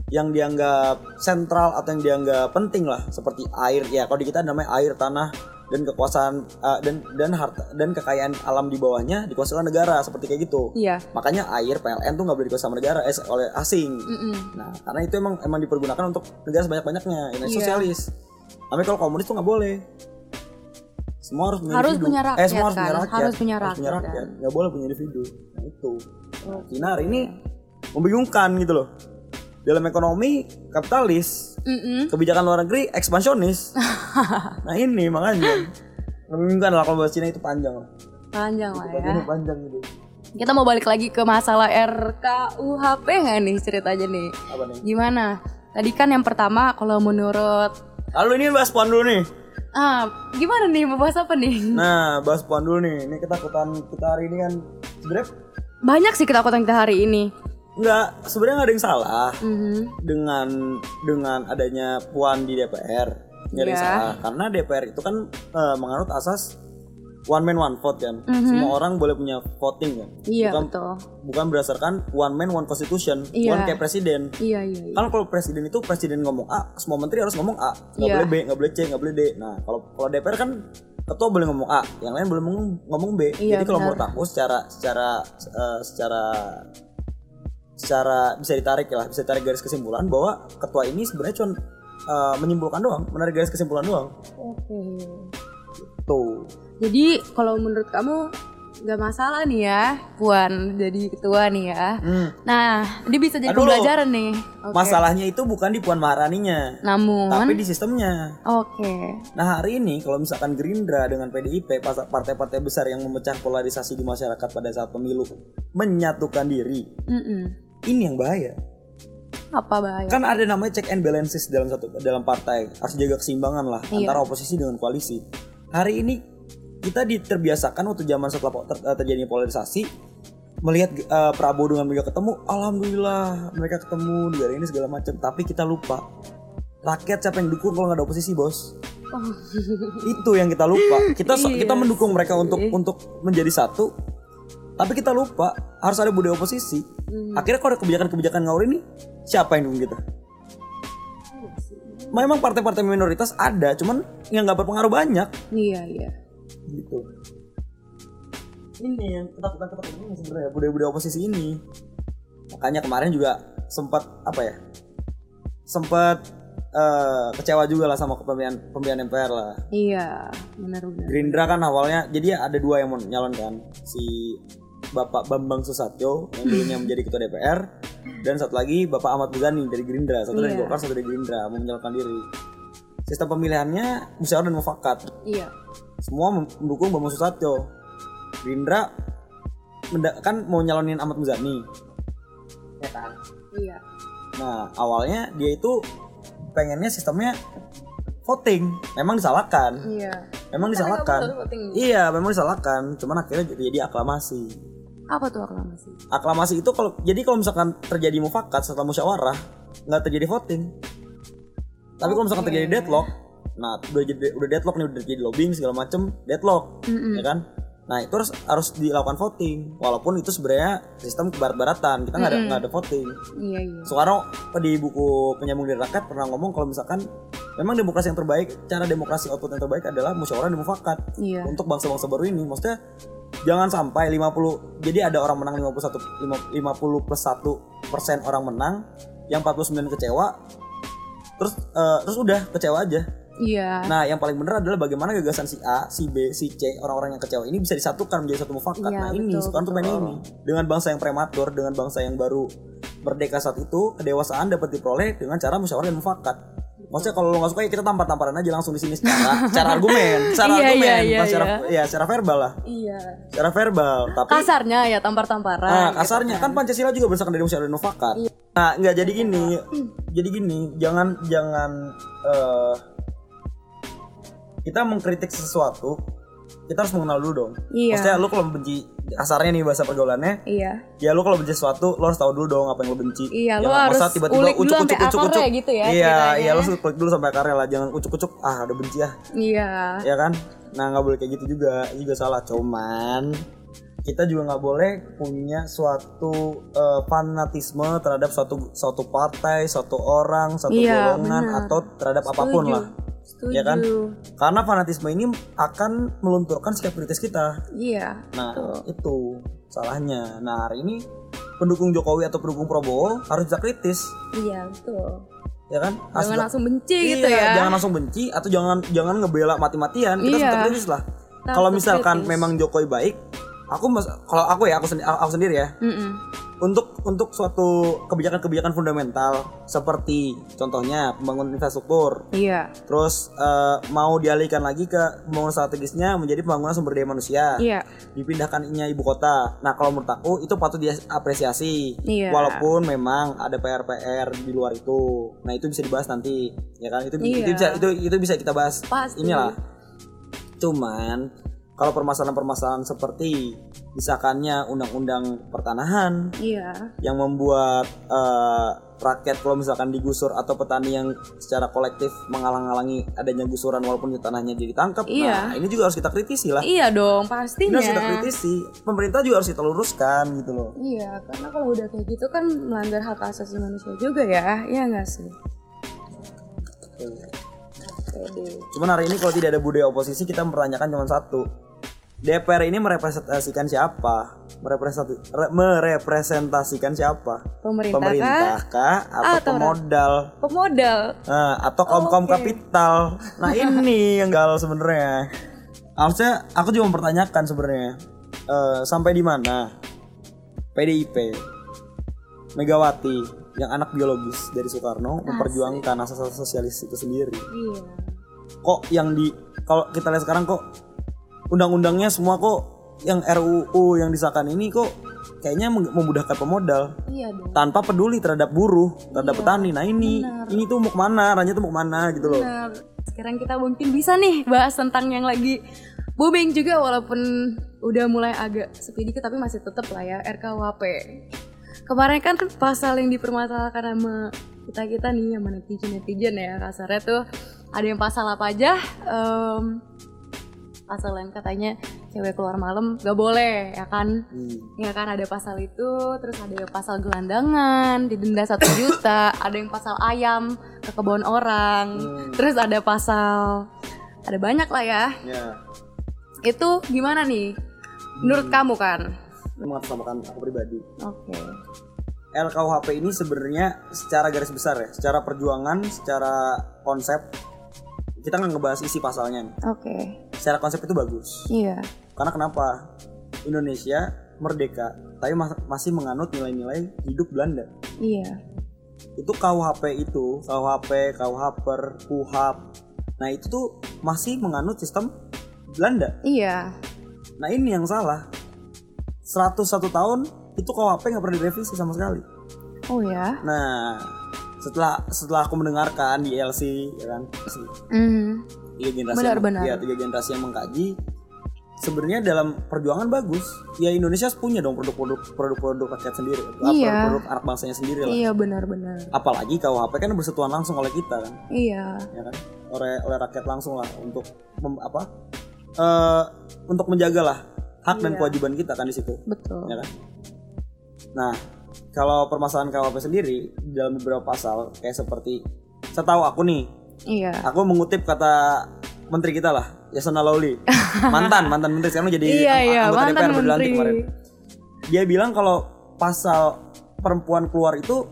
Speaker 2: Yang dianggap sentral atau yang dianggap penting lah, seperti air ya. Kalau di kita namanya air, tanah, dan kekuasaan eh, dan dan harta dan kekayaan alam di bawahnya dikuasai oleh negara seperti kayak gitu.
Speaker 3: Iya.
Speaker 2: Makanya air PLN tuh nggak boleh dikuasai sama negara eh, oleh asing.
Speaker 3: Mm-mm.
Speaker 2: Nah, karena itu emang emang dipergunakan untuk negara sebanyak-banyaknya, ini
Speaker 3: Iya.
Speaker 2: sosialis. Tapi kalau komunis tuh nggak boleh. Semua harus punya
Speaker 3: Harus
Speaker 2: individu.
Speaker 3: punya
Speaker 2: eh, semua
Speaker 3: rakyat,
Speaker 2: harus punya
Speaker 3: kan?
Speaker 2: rakyat.
Speaker 3: Harus punya rakyat, kan?
Speaker 2: Nggak boleh punya individu. Nah, itu. Nah, Cina hari ini membingungkan gitu loh. Dalam ekonomi kapitalis,
Speaker 3: Mm-mm.
Speaker 2: kebijakan luar negeri ekspansionis. nah, ini makanya membingungkan lah kalau bahas Cina itu panjang lah.
Speaker 3: Panjang lah ya.
Speaker 2: Ini panjang gitu.
Speaker 3: Kita mau balik lagi ke masalah RKUHP nggak nih ceritanya nih?
Speaker 2: Apa nih?
Speaker 3: Gimana? Tadi kan yang pertama kalau menurut
Speaker 2: Lalu ini bahas puan dulu nih.
Speaker 3: ah gimana nih mau bahas apa nih?
Speaker 2: Nah, bahas puan dulu nih. Ini ketakutan kita hari ini kan sebenarnya
Speaker 3: Banyak sih ketakutan kita hari ini.
Speaker 2: nggak sebenarnya nggak ada yang salah
Speaker 3: Mhm.
Speaker 2: dengan dengan adanya puan di DPR. Nggak ada yang
Speaker 3: Iya.
Speaker 2: salah karena DPR itu kan eh, menganut asas one man one vote kan. Semua orang boleh punya voting kan.
Speaker 3: Mhm. Iya
Speaker 2: bukan
Speaker 3: betul.
Speaker 2: bukan berdasarkan one man one constitution,
Speaker 3: Iya.
Speaker 2: one kayak presiden.
Speaker 3: Iya iya. iya.
Speaker 2: Kan kalau presiden itu presiden ngomong A, semua menteri harus ngomong A. Nggak
Speaker 3: Iya.
Speaker 2: boleh B, nggak boleh C, nggak boleh D. Nah, kalau kalau DPR kan ketua boleh ngomong A, yang lain boleh ngomong, ngomong B.
Speaker 3: Iya,
Speaker 2: Jadi kalau
Speaker 3: benar.
Speaker 2: menurut aku secara secara eh, secara secara bisa ditarik lah, bisa tarik garis kesimpulan bahwa ketua ini sebenarnya cuma eh, menyimpulkan doang, menarik garis kesimpulan doang.
Speaker 3: Oke.
Speaker 2: Tuh.
Speaker 3: Jadi kalau menurut kamu nggak masalah nih ya, Puan jadi ketua nih ya. Nah, dia bisa jadi
Speaker 2: Aduh,
Speaker 3: pembelajaran nih. Oke.
Speaker 2: Masalahnya itu bukan di Puan Maharaninya,
Speaker 3: Namun,
Speaker 2: tapi
Speaker 3: oke.
Speaker 2: di sistemnya. Nah hari ini kalau misalkan Gerindra dengan PDIP pas- partai-partai besar yang memecah polarisasi di masyarakat pada saat pemilu menyatukan diri
Speaker 3: Mm-mm.
Speaker 2: ini yang bahaya
Speaker 3: Apa bahaya?
Speaker 2: kan ada namanya check and balances dalam satu dalam partai harus jaga keseimbangan lah
Speaker 3: Iya.
Speaker 2: antara oposisi dengan koalisi hari ini kita diterbiasakan waktu zaman setelah po- ter- eh, terjadinya polarisasi melihat eh, Prabowo dengan Mega ketemu alhamdulillah mereka ketemu negara ini segala macam tapi kita lupa rakyat siapa yang dukung kalau nggak ada oposisi bos
Speaker 3: Oh.
Speaker 2: itu yang kita lupa kita so-
Speaker 3: Iya
Speaker 2: kita mendukung mereka untuk
Speaker 3: sih.
Speaker 2: untuk menjadi satu tapi kita lupa harus ada budaya oposisi
Speaker 3: Hmm.
Speaker 2: akhirnya kalau ada kebijakan-kebijakan ngawur ini siapa yang dukung kita memang partai-partai minoritas ada cuman yang nggak berpengaruh banyak
Speaker 3: Iya, iya.
Speaker 2: gitu ini yang ketakutan ketakutan ini sebenarnya budaya-budaya oposisi ini makanya kemarin juga sempat apa ya sempat eh, kecewa juga lah sama kepemilihan pemilihan MPR lah
Speaker 3: Iya, benar-benar.
Speaker 2: Gerindra kan awalnya jadi ada dua yang mau nyalonkan si Bapak Bambang Susatyo yang dulunya menjadi ketua DPR dan satu lagi Bapak Ahmad Muzani dari Gerindra satu dari
Speaker 3: Iya.
Speaker 2: Golkar satu dari Gerindra mau menyalonkan diri sistem pemilihannya musyawarah dan mufakat
Speaker 3: Iya.
Speaker 2: semua mem- mendukung Bambang Susatyo. Gerindra menda- kan mau nyalonin Ahmad Muzani. Ya kan?
Speaker 3: Iya.
Speaker 2: Nah, awalnya dia itu pengennya sistemnya voting. Memang disalahkan.
Speaker 3: Iya.
Speaker 2: Memang disalahkan. Iya, memang disalahkan. Cuman akhirnya jadi, jadi aklamasi.
Speaker 3: Apa tuh aklamasi?
Speaker 2: Iya Aklamasi itu kalau jadi kalau misalkan terjadi mufakat setelah musyawarah, nggak terjadi voting. Tapi kalau misalkan
Speaker 3: Oke.
Speaker 2: terjadi deadlock, nah udah jadi- udah deadlock nih udah terjadi lobbying segala macem deadlock
Speaker 3: Mm-mm.
Speaker 2: ya kan nah itu harus harus dilakukan voting walaupun itu sebenarnya sistem kebarat-baratan kita nggak ada
Speaker 3: Mm-mm.
Speaker 2: nggak ada voting
Speaker 3: Iya, iya.
Speaker 2: Soekarno di buku penyambung diri rakyat pernah ngomong kalau misalkan memang demokrasi yang terbaik cara demokrasi output yang terbaik adalah musyawarah dan mufakat
Speaker 3: Iya.
Speaker 2: untuk bangsa-bangsa baru ini maksudnya jangan sampai 50 jadi ada orang menang 51 50 plus 1 persen orang menang yang 49 kecewa terus eh, terus udah kecewa aja
Speaker 3: Iya.
Speaker 2: Nah, yang paling benar adalah bagaimana gagasan si A, si B, si C, orang-orang yang kecewa ini bisa disatukan menjadi satu mufakat.
Speaker 3: Iya,
Speaker 2: nah, ini
Speaker 3: betul,
Speaker 2: sekarang tuh main ini. Dengan bangsa yang prematur, dengan bangsa yang baru merdeka saat itu, kedewasaan dapat diperoleh dengan cara musyawarah dan mufakat. Maksudnya kalau lo gak suka ya kita tampar-tamparan aja langsung di sini secara secara argumen, secara
Speaker 3: Iya, iya,
Speaker 2: argumen,
Speaker 3: iya,
Speaker 2: bukan secara
Speaker 3: iya.
Speaker 2: ya secara verbal lah,
Speaker 3: Iya.
Speaker 2: secara verbal. Tapi
Speaker 3: Kasarnya ya
Speaker 2: Nah,
Speaker 3: tampar-tamparan.
Speaker 2: kasarnya kan Pancasila juga berdasarkan dari musyawarah dan mufakat.
Speaker 3: Iya.
Speaker 2: Nah, nggak jadi gini, jadi gini, jangan jangan eh, kita mengkritik sesuatu, kita harus mengenal dulu dong.
Speaker 3: Iya.
Speaker 2: Maksudnya lu kalau benci kasarnya nih bahasa pergaulannya,
Speaker 3: Iya.
Speaker 2: ya lu kalau benci sesuatu lu harus tahu dulu dong apa yang lu benci.
Speaker 3: Iya,
Speaker 2: Jangan
Speaker 3: lu harus
Speaker 2: masa
Speaker 3: ulik dulu sampai akarnya gitu ya,
Speaker 2: Iya,
Speaker 3: ceritanya.
Speaker 2: iya lu harus ulik dulu sampai akarnya lah, jangan ucuk-ucuk ah udah benci ah
Speaker 3: Iya.
Speaker 2: ya kan nah nggak boleh kayak gitu juga Itu juga salah cuman kita juga nggak boleh punya suatu eh, fanatisme terhadap suatu suatu partai suatu orang suatu
Speaker 3: Iya,
Speaker 2: golongan
Speaker 3: benar.
Speaker 2: atau terhadap apapun
Speaker 3: Setuju.
Speaker 2: lah
Speaker 3: Setuju.
Speaker 2: Ya kan? karena fanatisme ini akan melunturkan sikap kritis kita
Speaker 3: Iya.
Speaker 2: nah
Speaker 3: Betul.
Speaker 2: itu salahnya nah hari ini pendukung Jokowi atau pendukung Prabowo harus bisa kritis
Speaker 3: Iya, betul.
Speaker 2: ya kan
Speaker 3: Jangan
Speaker 2: Harus bisa-
Speaker 3: langsung benci
Speaker 2: Iya,
Speaker 3: gitu ya.
Speaker 2: Jangan langsung benci atau jangan jangan ngebela mati-matian. Kita
Speaker 3: Iya.
Speaker 2: tetap kritis lah.
Speaker 3: Tetap
Speaker 2: Kalau misalkan
Speaker 3: Nah, kritis.
Speaker 2: memang Jokowi baik, aku mas- kalau aku ya aku, sendi- aku sendiri ya.
Speaker 3: Mm-mm.
Speaker 2: Untuk untuk suatu kebijakan-kebijakan fundamental seperti contohnya pembangunan infrastruktur,
Speaker 3: Iya.
Speaker 2: terus eh, mau dialihkan lagi ke pembangunan strategisnya menjadi pembangunan sumber daya manusia
Speaker 3: Iya.
Speaker 2: dipindahkannya ibu kota. Nah kalau menurut aku itu patut diapresiasi,
Speaker 3: Iya.
Speaker 2: walaupun memang ada PR-PR di luar itu. Nah itu bisa dibahas nanti, ya kan? Itu,
Speaker 3: Iya.
Speaker 2: itu bisa itu itu bisa kita bahas.
Speaker 3: Pasti.
Speaker 2: Inilah. Cuman kalau permasalahan-permasalahan seperti misalkannya undang-undang pertanahan
Speaker 3: Iya.
Speaker 2: yang membuat eh, rakyat kalau misalkan digusur atau petani yang secara kolektif mengalang-alangi adanya gusuran walaupun tanahnya jadi tangkap,
Speaker 3: Iya.
Speaker 2: nah ini juga harus kita kritisi lah.
Speaker 3: Iya dong,
Speaker 2: Ini
Speaker 3: pastinya.
Speaker 2: harus kita kritisi. Pemerintah juga harus kita luruskan gitu loh.
Speaker 3: Iya, karena kalau udah kayak gitu kan melanggar hak asasi manusia juga ya, ya nggak sih? Oke deh.
Speaker 2: Cuman hari ini kalau tidak ada budaya oposisi kita mempertanyakan cuma satu. DPR ini merepresentasikan siapa? Merepresentasi, re- merepresentasikan siapa?
Speaker 3: Pemerintah,
Speaker 2: Pemerintah
Speaker 3: kah?
Speaker 2: kah? Atau
Speaker 3: Atau
Speaker 2: pemodal?
Speaker 3: Pemodal.
Speaker 2: Eh, atau kaum kaum
Speaker 3: Oke.
Speaker 2: kapital? Nah ini yang galau sebenarnya. Harusnya aku juga mempertanyakan sebenarnya Eh, sampai di mana PDIP Megawati yang anak biologis dari Soekarno memperjuangkan asas-asas sosialis itu sendiri.
Speaker 3: Iya.
Speaker 2: Kok yang di kalau kita lihat sekarang kok undang-undangnya semua kok yang RUU yang disahkan ini kok kayaknya meng- memudahkan pemodal
Speaker 3: Iya dong.
Speaker 2: tanpa peduli terhadap buruh, terhadap petani. Nah ini
Speaker 3: Iya, benar.
Speaker 2: ini tuh mau kemana? Rannya tuh mau kemana gitu loh.
Speaker 3: Nah, sekarang kita mungkin bisa nih bahas tentang yang lagi booming juga walaupun udah mulai agak sepi dikit tapi masih tetap lah ya RKUHP. Kemarin kan pasal yang dipermasalahkan sama kita kita nih sama netizen netizen ya kasarnya tuh ada yang pasal apa aja em, pasal yang katanya cewek keluar malam gak boleh ya kan
Speaker 2: Hmm.
Speaker 3: ya kan ada pasal itu terus ada yang pasal gelandangan didenda satu juta ada yang pasal ayam ke kebun orang
Speaker 2: Hmm.
Speaker 3: terus ada pasal ada banyak lah ya
Speaker 2: Ya.
Speaker 3: itu gimana nih
Speaker 2: Hmm.
Speaker 3: Menurut kamu kan?
Speaker 2: mengatasnamakan aku pribadi.
Speaker 3: Oke.
Speaker 2: LKUHP ini sebenarnya secara garis besar ya, secara perjuangan, secara konsep kita nggak ngebahas isi pasalnya. nih.
Speaker 3: Oke.
Speaker 2: Secara konsep itu bagus.
Speaker 3: Iya.
Speaker 2: Karena kenapa? Indonesia merdeka, tapi mas- masih menganut nilai-nilai hidup Belanda.
Speaker 3: Iya.
Speaker 2: Itu KUHP itu, KUHP, KUHPER, KUHAP. Nah itu tuh masih menganut sistem Belanda.
Speaker 3: Iya.
Speaker 2: Nah ini yang salah 101 tahun itu KUHP nggak pernah direvisi sama sekali
Speaker 3: Oh ya.
Speaker 2: Nah setelah setelah aku mendengarkan di LC ya kan
Speaker 3: Mhm.
Speaker 2: tiga generasi
Speaker 3: Benar,
Speaker 2: yang-
Speaker 3: benar.
Speaker 2: ya, tiga generasi yang mengkaji sebenarnya dalam perjuangan bagus ya Indonesia punya dong produk-produk produk-produk rakyat sendiri
Speaker 3: Iya.
Speaker 2: produk-produk anak bangsanya sendiri lah
Speaker 3: Iya benar-benar.
Speaker 2: apalagi KUHP kan bersentuhan langsung oleh kita kan
Speaker 3: Iya.
Speaker 2: ya kan oleh oleh rakyat langsung lah untuk mem- apa eh, untuk menjagalah hak dan
Speaker 3: Iya.
Speaker 2: kewajiban kita kan di situ
Speaker 3: Betul.
Speaker 2: ya kan? Nah, kalau permasalahan KWP sendiri dalam beberapa pasal kayak seperti setahu aku nih,
Speaker 3: Iya.
Speaker 2: aku mengutip kata menteri kita lah, Yasona Lauli. mantan, mantan menteri sekarang jadi
Speaker 3: iya
Speaker 2: ang-
Speaker 3: iya.
Speaker 2: anggota DPR
Speaker 3: Mantan
Speaker 2: baru dilantik
Speaker 3: menteri.
Speaker 2: kemarin. Dia bilang kalau pasal perempuan keluar itu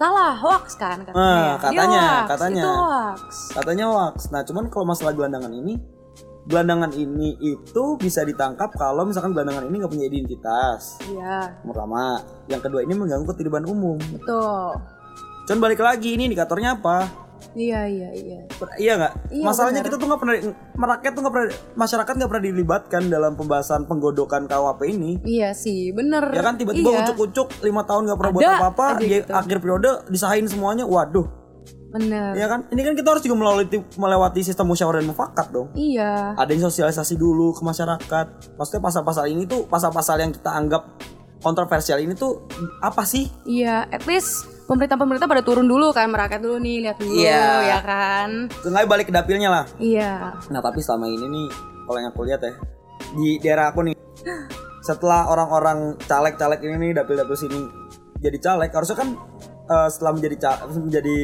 Speaker 3: Salah hoax kan katanya.
Speaker 2: Ah,
Speaker 3: Dia
Speaker 2: katanya,
Speaker 3: hoax.
Speaker 2: katanya.
Speaker 3: Itu hoax.
Speaker 2: katanya hoax. Nah, cuman kalau masalah gelandangan ini gelandangan ini itu bisa ditangkap kalau misalkan gelandangan ini nggak punya identitas.
Speaker 3: Iya.
Speaker 2: Pertama, yang kedua ini mengganggu ketertiban umum.
Speaker 3: Betul.
Speaker 2: Cuman Kan balik lagi ini indikatornya apa?
Speaker 3: Iya iya iya.
Speaker 2: Per- Iya nggak?
Speaker 3: Iya,
Speaker 2: Masalahnya
Speaker 3: benar.
Speaker 2: kita tuh nggak pernah, merakyat tuh nggak pernah, masyarakat nggak pernah dilibatkan dalam pembahasan penggodokan KUHP ini.
Speaker 3: Iya sih, bener.
Speaker 2: Ya kan tiba-tiba
Speaker 3: Iya,
Speaker 2: ucuk-ucuk lima tahun nggak pernah
Speaker 3: Ada
Speaker 2: buat apa-apa,
Speaker 3: aja
Speaker 2: ya,
Speaker 3: gitu.
Speaker 2: akhir periode disahin semuanya. Waduh,
Speaker 3: Bener.
Speaker 2: ya kan? Ini kan kita harus juga melewati melewati sistem musyawarah dan mufakat dong.
Speaker 3: Iya.
Speaker 2: Ada yang sosialisasi dulu ke masyarakat. Maksudnya pasal-pasal ini tuh pasal-pasal yang kita anggap kontroversial ini tuh apa sih?
Speaker 3: Iya, at least pemerintah-pemerintah pada turun dulu kan merakyat dulu nih, lihat dulu
Speaker 2: Iya.
Speaker 3: ya kan.
Speaker 2: Tengah balik ke dapilnya lah.
Speaker 3: Iya.
Speaker 2: Nah tapi selama ini nih kalau yang aku lihat ya di daerah aku nih setelah orang-orang caleg-caleg ini nih dapil-dapil sini jadi caleg harusnya kan eh, setelah menjadi ca- menjadi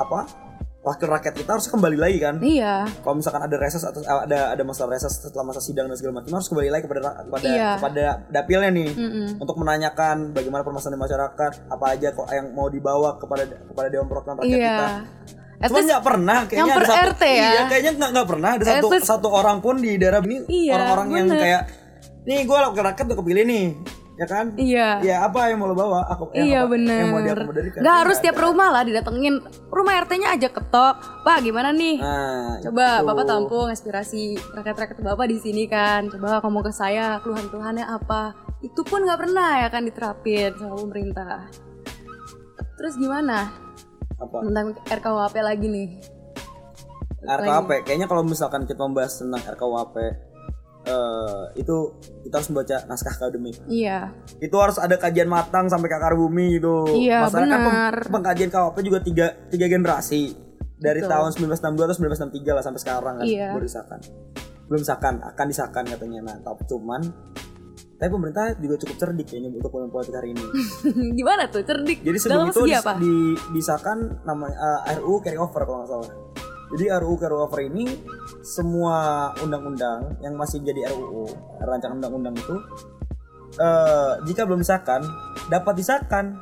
Speaker 2: apa wakil rakyat kita harus kembali lagi kan
Speaker 3: Iya.
Speaker 2: kalau misalkan ada reses atau eh, ada ada masalah reses setelah masa sidang dan segala macam harus kembali lagi kepada ra- kepada
Speaker 3: Iya.
Speaker 2: kepada dapilnya nih
Speaker 3: Mm-mm.
Speaker 2: untuk menanyakan bagaimana permasalahan di masyarakat apa aja kok yang mau dibawa kepada kepada dewan perwakilan rakyat
Speaker 3: Iya.
Speaker 2: kita
Speaker 3: At
Speaker 2: Cuman ya-
Speaker 3: least
Speaker 2: nggak pernah kayaknya
Speaker 3: yang per
Speaker 2: ada satu,
Speaker 3: RT ya?
Speaker 2: Iya, kayaknya nggak nggak pernah ada
Speaker 3: At
Speaker 2: satu
Speaker 3: least-
Speaker 2: satu orang pun di daerah ini
Speaker 3: Iya,
Speaker 2: orang-orang yang
Speaker 3: bener.
Speaker 2: kayak nih gue wakil rakyat udah kepilih nih ya kan
Speaker 3: iya.
Speaker 2: ya apa yang mau lo bawa aku yang
Speaker 3: Iya
Speaker 2: apa- yang mau
Speaker 3: bener
Speaker 2: diakomodirkan
Speaker 3: Gak
Speaker 2: Iya,
Speaker 3: harus
Speaker 2: ada.
Speaker 3: tiap rumah lah didatengin Rumah RT-nya aja ketok Pak gimana nih?
Speaker 2: nah,
Speaker 3: Coba
Speaker 2: itu.
Speaker 3: Bapak tampung aspirasi rakyat-rakyat Bapak di sini kan Coba ngomong ke saya keluhan-keluhannya apa Itu pun gak pernah ya kan diterapin sama pemerintah Terus gimana?
Speaker 2: apa
Speaker 3: Tentang RKUHP lagi nih
Speaker 2: RKUHP kayaknya kalau misalkan kita membahas tentang RKUHP eh, itu kita harus membaca naskah akademik
Speaker 3: Iya
Speaker 2: itu harus ada kajian matang sampai ke akar bumi gitu.
Speaker 3: Iya,
Speaker 2: Masalahnya kan pem-
Speaker 3: benar.
Speaker 2: pengkajian KWP juga tiga, tiga generasi dari
Speaker 3: Betul.
Speaker 2: tahun 1962 atau 1963 lah sampai sekarang kan
Speaker 3: Iya.
Speaker 2: baru disahkan. Belum disahkan, akan disahkan katanya. Nah, tapi cuman tapi pemerintah juga cukup cerdik kayaknya untuk pemimpin politik hari ini.
Speaker 3: Gimana tuh cerdik?
Speaker 2: Jadi sebelum
Speaker 3: Dalam
Speaker 2: itu
Speaker 3: segi
Speaker 2: dis-
Speaker 3: apa?
Speaker 2: di, disahkan namanya eh, RUU carry over kalau nggak salah. Jadi RUU carry over ini semua undang-undang yang masih jadi RUU rancangan undang-undang itu eh, jika belum disahkan dapat disahkan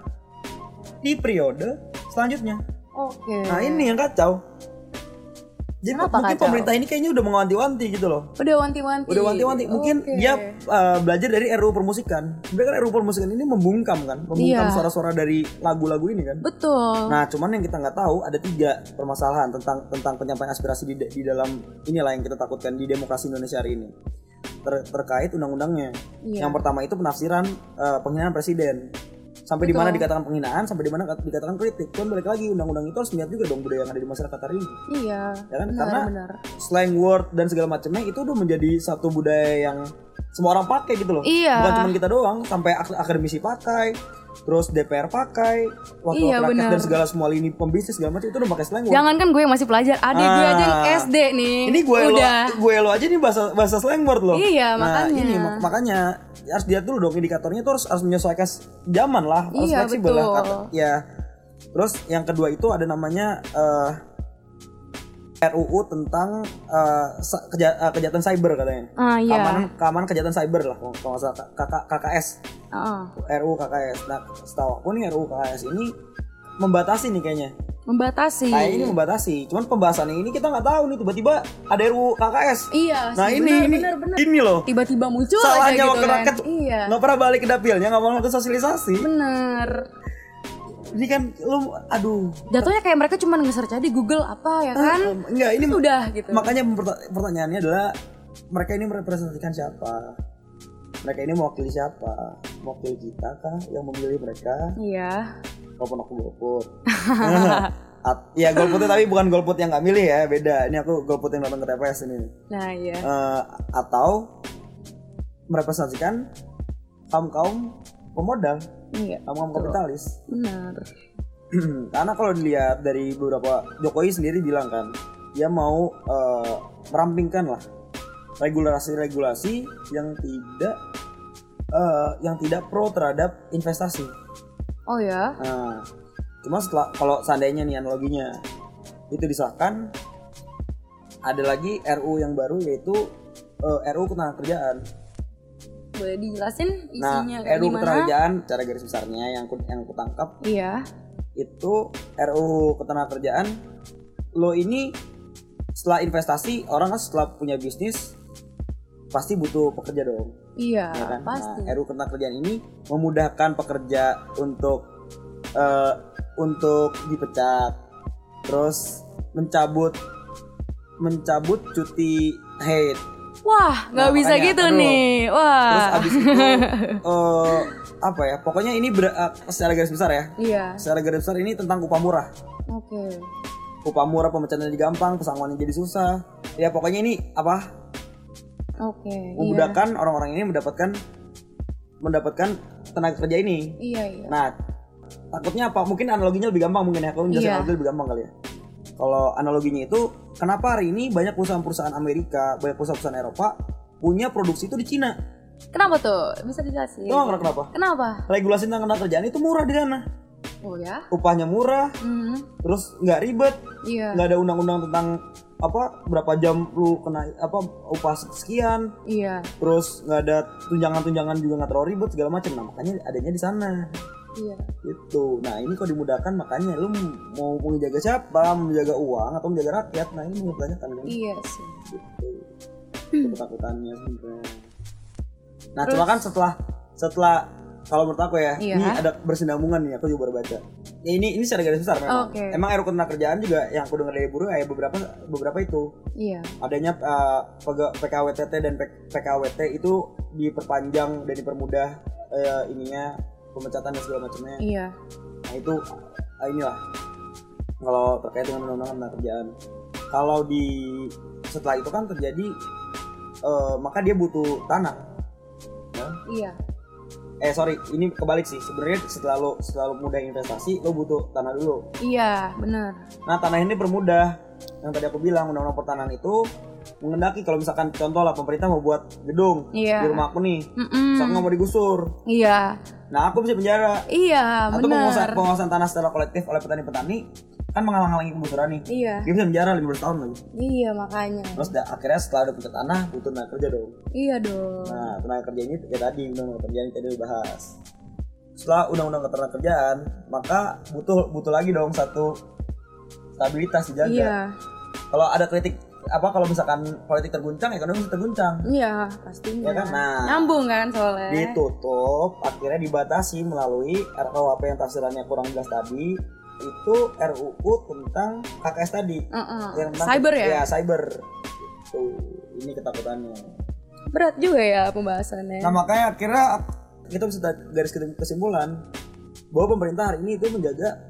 Speaker 2: di periode selanjutnya.
Speaker 3: Oke
Speaker 2: Nah ini yang kacau. Jadi
Speaker 3: Iya. Kenapa
Speaker 2: mungkin
Speaker 3: kacau?
Speaker 2: pemerintah ini kayaknya udah mengawanti-wanti gitu loh.
Speaker 3: Udah wanti-wanti
Speaker 2: Udah wanti-wanti mungkin
Speaker 3: Oke.
Speaker 2: dia uh, belajar dari RUU permusikan. Sebenarnya kan RUU permusikan ini membungkam kan, membungkam
Speaker 3: Iya.
Speaker 2: suara-suara dari lagu-lagu ini kan.
Speaker 3: Betul
Speaker 2: Nah, cuman yang kita nggak tahu ada tiga permasalahan tentang tentang penyampaian aspirasi di, di dalam inilah yang kita takutkan di demokrasi Indonesia hari ini Ter- terkait undang-undangnya.
Speaker 3: Iya.
Speaker 2: Yang pertama itu penafsiran uh, penghinaan presiden. Sampai di
Speaker 3: Betul.
Speaker 2: mana dikatakan penghinaan, sampai di mana dikatakan kritik. Cuman balik lagi undang-undang itu harus melihat juga dong budaya yang ada di masyarakat hari ini.
Speaker 3: Iya
Speaker 2: Ya kan? Karena
Speaker 3: Benar-benar
Speaker 2: slang word dan segala macamnya itu udah menjadi satu budaya yang semua orang pakai gitu loh.
Speaker 3: Iya.
Speaker 2: Bukan cuma kita doang, sampai ak- akademisi pakai, terus DPR pakai, waktu
Speaker 3: Iya,
Speaker 2: rakyat
Speaker 3: benar.
Speaker 2: dan segala semua lini pembisnis segala macam itu udah pakai slang word.
Speaker 3: Jangan kan gue yang masih pelajar, adik gue aja yang
Speaker 2: Ah.
Speaker 3: SD nih.
Speaker 2: ini gue lo,
Speaker 3: udah.
Speaker 2: gue lo aja nih bahasa bahasa slang word loh.
Speaker 3: Iya,
Speaker 2: Nah,
Speaker 3: makanya.
Speaker 2: ini mak- makanya harus lihat dulu dong indikatornya itu harus harus menyesuaikan s- zaman lah, harus
Speaker 3: Iya,
Speaker 2: fleksibel lah
Speaker 3: betul.
Speaker 2: kata- Ya. Terus yang kedua itu ada namanya eh, RUU tentang eh, sa- keja- eh, kejahatan cyber katanya.
Speaker 3: ah iya
Speaker 2: Keamanan, keamanan kejahatan cyber lah kalau kalau nggak salah K- K- KKS.
Speaker 3: Heeh.
Speaker 2: RUU KKS. Nah, setahu aku nih RUU KKS ini membatasi nih kayaknya.
Speaker 3: membatasi
Speaker 2: Kayaknya Nah, ini membatasi. Cuman pembahasannya ini kita nggak tahu nih tiba-tiba ada RUU KKS.
Speaker 3: iya
Speaker 2: Nah,
Speaker 3: sih,
Speaker 2: ini
Speaker 3: bener,
Speaker 2: ini
Speaker 3: bener, bener.
Speaker 2: ini loh.
Speaker 3: tiba-tiba muncul
Speaker 2: Salahnya
Speaker 3: aja gitu
Speaker 2: waktu
Speaker 3: kan
Speaker 2: rakyat
Speaker 3: iya
Speaker 2: nggak pernah balik ke dapilnya, nggak mau ikut sosialisasi.
Speaker 3: bener
Speaker 2: Ini kan lu aduh. Eh,
Speaker 3: jatuhnya kayak mereka cuma nge-search aja di Google apa ya kan
Speaker 2: Enggak, Nah, ini
Speaker 3: udah gitu
Speaker 2: makanya perta- pertanyaannya adalah mereka ini merepresentasikan siapa? Mereka ini mewakili siapa? Mewakili kita kah yang memilih mereka?
Speaker 3: iya
Speaker 2: Walaupun aku golput. At- ya golputnya tapi bukan golput yang nggak milih ya, beda. Ini aku golput yang datang ke TPS ini.
Speaker 3: nah iya
Speaker 2: Eh, atau merepresentasikan kaum kaum pemodal,
Speaker 3: iya
Speaker 2: kaum kaum kapitalis.
Speaker 3: bener
Speaker 2: karena kalau dilihat dari beberapa Jokowi sendiri bilang kan dia mau eh, merampingkan lah regulasi-regulasi yang tidak eh, yang tidak pro terhadap investasi.
Speaker 3: oh ya
Speaker 2: Nah, cuma setelah kalau seandainya nih analoginya itu disahkan ada lagi RU yang baru yaitu eh, RU ketenagakerjaan.
Speaker 3: boleh dijelasin
Speaker 2: Nah,
Speaker 3: isinya kayak
Speaker 2: RU
Speaker 3: gimana
Speaker 2: ketenagakerjaan cara garis besarnya yang ku- yang kutangkap
Speaker 3: iya
Speaker 2: itu RUU ketenagakerjaan lo ini setelah investasi orang kan setelah punya bisnis pasti butuh pekerja dong
Speaker 3: iya
Speaker 2: ya kan?
Speaker 3: pasti
Speaker 2: Nah, RUU ketenagakerjaan ini memudahkan pekerja untuk eh, untuk dipecat terus mencabut mencabut cuti haid
Speaker 3: wah nggak
Speaker 2: Nah,
Speaker 3: bisa
Speaker 2: makanya,
Speaker 3: gitu
Speaker 2: aduh.
Speaker 3: nih
Speaker 2: terus
Speaker 3: wah
Speaker 2: abis itu eh, apa ya pokoknya ini ber- eh, secara garis besar ya
Speaker 3: iya
Speaker 2: secara garis besar ini tentang upah murah
Speaker 3: oke
Speaker 2: upah murah pemecatannya jadi gampang pesangonnya jadi susah ya pokoknya ini apa
Speaker 3: oke iya
Speaker 2: memudahkan orang-orang ini mendapatkan mendapatkan tenaga kerja ini
Speaker 3: iya iya
Speaker 2: nah takutnya apa mungkin analoginya lebih gampang mungkin ya kalau menjelaskan
Speaker 3: Iya.
Speaker 2: analogi lebih gampang kali ya kalau analoginya itu kenapa hari ini banyak perusahaan-perusahaan Amerika banyak perusahaan-perusahaan Eropa punya produksi itu di Cina
Speaker 3: kenapa tuh bisa dijelasin
Speaker 2: tau nggak kenapa
Speaker 3: kenapa
Speaker 2: regulasi tentang tenaga kerjaan itu murah di sana
Speaker 3: oh ya
Speaker 2: upahnya murah
Speaker 3: Mhm.
Speaker 2: terus nggak ribet
Speaker 3: iya
Speaker 2: nggak ada undang-undang tentang apa berapa jam lu kena apa upah sekian
Speaker 3: iya
Speaker 2: terus nggak ada tunjangan-tunjangan juga nggak terlalu ribet segala macam nah makanya adanya di sana
Speaker 3: iya
Speaker 2: gitu nah ini kalau dimudahkan makanya lu mau menjaga siapa menjaga uang atau menjaga rakyat nah ini banyak kan gitu
Speaker 3: iya sih
Speaker 2: ketakutannya sebenarnya nah cuma kan setelah setelah kalau menurut aku ya
Speaker 3: Iya.
Speaker 2: ini ada bersinambungan nih aku juga baru baca ya ini ini secara garis besar memang
Speaker 3: Oke.
Speaker 2: emang RUU kerjaan juga yang aku dengar dari buruh ya beberapa beberapa itu
Speaker 3: iya
Speaker 2: adanya eh, PG PKWTT dan P- PKWT itu diperpanjang dan dipermudah eh, ininya pemecatan dan segala macamnya.
Speaker 3: iya
Speaker 2: Nah itu eh, inilah kalau terkait dengan undang-undang ketenaga kerjaan. Kalau di setelah itu kan terjadi eh, maka dia butuh tanah.
Speaker 3: iya
Speaker 2: Eh sorry ini kebalik sih sebenarnya setelah lo setelah lo mudah investasi lo butuh tanah dulu.
Speaker 3: Iya, benar.
Speaker 2: Nah tanah ini permudah yang tadi aku bilang undang-undang pertanahan itu mengendaki kalau misalkan contoh lah pemerintah mau buat gedung
Speaker 3: Iya.
Speaker 2: di rumah aku nih
Speaker 3: Mm-mm.
Speaker 2: misalkan nggak mau digusur
Speaker 3: Iya,
Speaker 2: nah aku bisa penjara
Speaker 3: iya,
Speaker 2: atau penguasaan,
Speaker 3: benar.
Speaker 2: penguasaan tanah secara kolektif oleh petani-petani kan menghalang-halangi penggusuran nih
Speaker 3: Iya,
Speaker 2: dia bisa penjara 15 tahun lagi
Speaker 3: iya makanya.
Speaker 2: terus da- akhirnya setelah udah punya tanah butuh tenaga kerja dong
Speaker 3: Iya dong.
Speaker 2: nah tenaga kerja ini ya tadi undang-undang kerja ini tadi udah bahas setelah undang-undang ketenaga kerjaan maka butuh butuh lagi dong satu stabilitas dijaga
Speaker 3: Iya,
Speaker 2: kalau ada kritik apa kalau misalkan politik terguncang ekonomi bisa terguncang
Speaker 3: iya
Speaker 2: ya
Speaker 3: pastinya.
Speaker 2: kan nah Gitu.
Speaker 3: Nyambung kan soalnya.
Speaker 2: ditutup akhirnya dibatasi melalui RKUHP yang tafsirannya kurang jelas tadi itu RUU tentang KKS tadi
Speaker 3: Heeh.
Speaker 2: yang tentang Iya,
Speaker 3: Cyber ya?
Speaker 2: cyber Gitu. ini ketakutannya
Speaker 3: Berat juga ya pembahasannya.
Speaker 2: nah makanya akhirnya kita bisa tarik garis kesimpulan bahwa pemerintah hari ini itu menjaga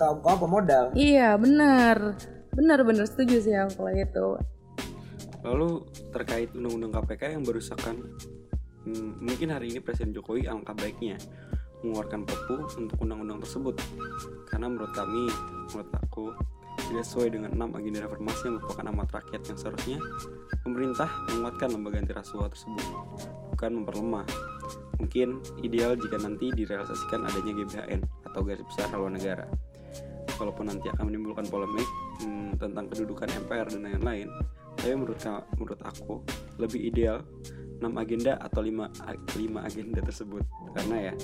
Speaker 2: kaum kaum pemodal
Speaker 3: Iya, benar. Benar-benar setuju sih aku kalau gitu. itu.
Speaker 1: Lalu terkait undang-undang KPK yang berusahkan hmm, mungkin hari ini Presiden Jokowi alangkah baiknya mengeluarkan perpu untuk undang-undang tersebut karena menurut kami menurut aku tidak sesuai dengan enam agenda reformasi yang merupakan amat rakyat yang seharusnya pemerintah menguatkan lembaga anti rasuah tersebut bukan memperlemah mungkin ideal jika nanti direalisasikan adanya GBHN atau garis besar haluan negara walaupun nanti akan menimbulkan polemik hmm, tentang kedudukan MPR dan lain-lain tapi menurut ka- menurut aku lebih ideal 6 agenda atau 5 lima agenda tersebut karena ya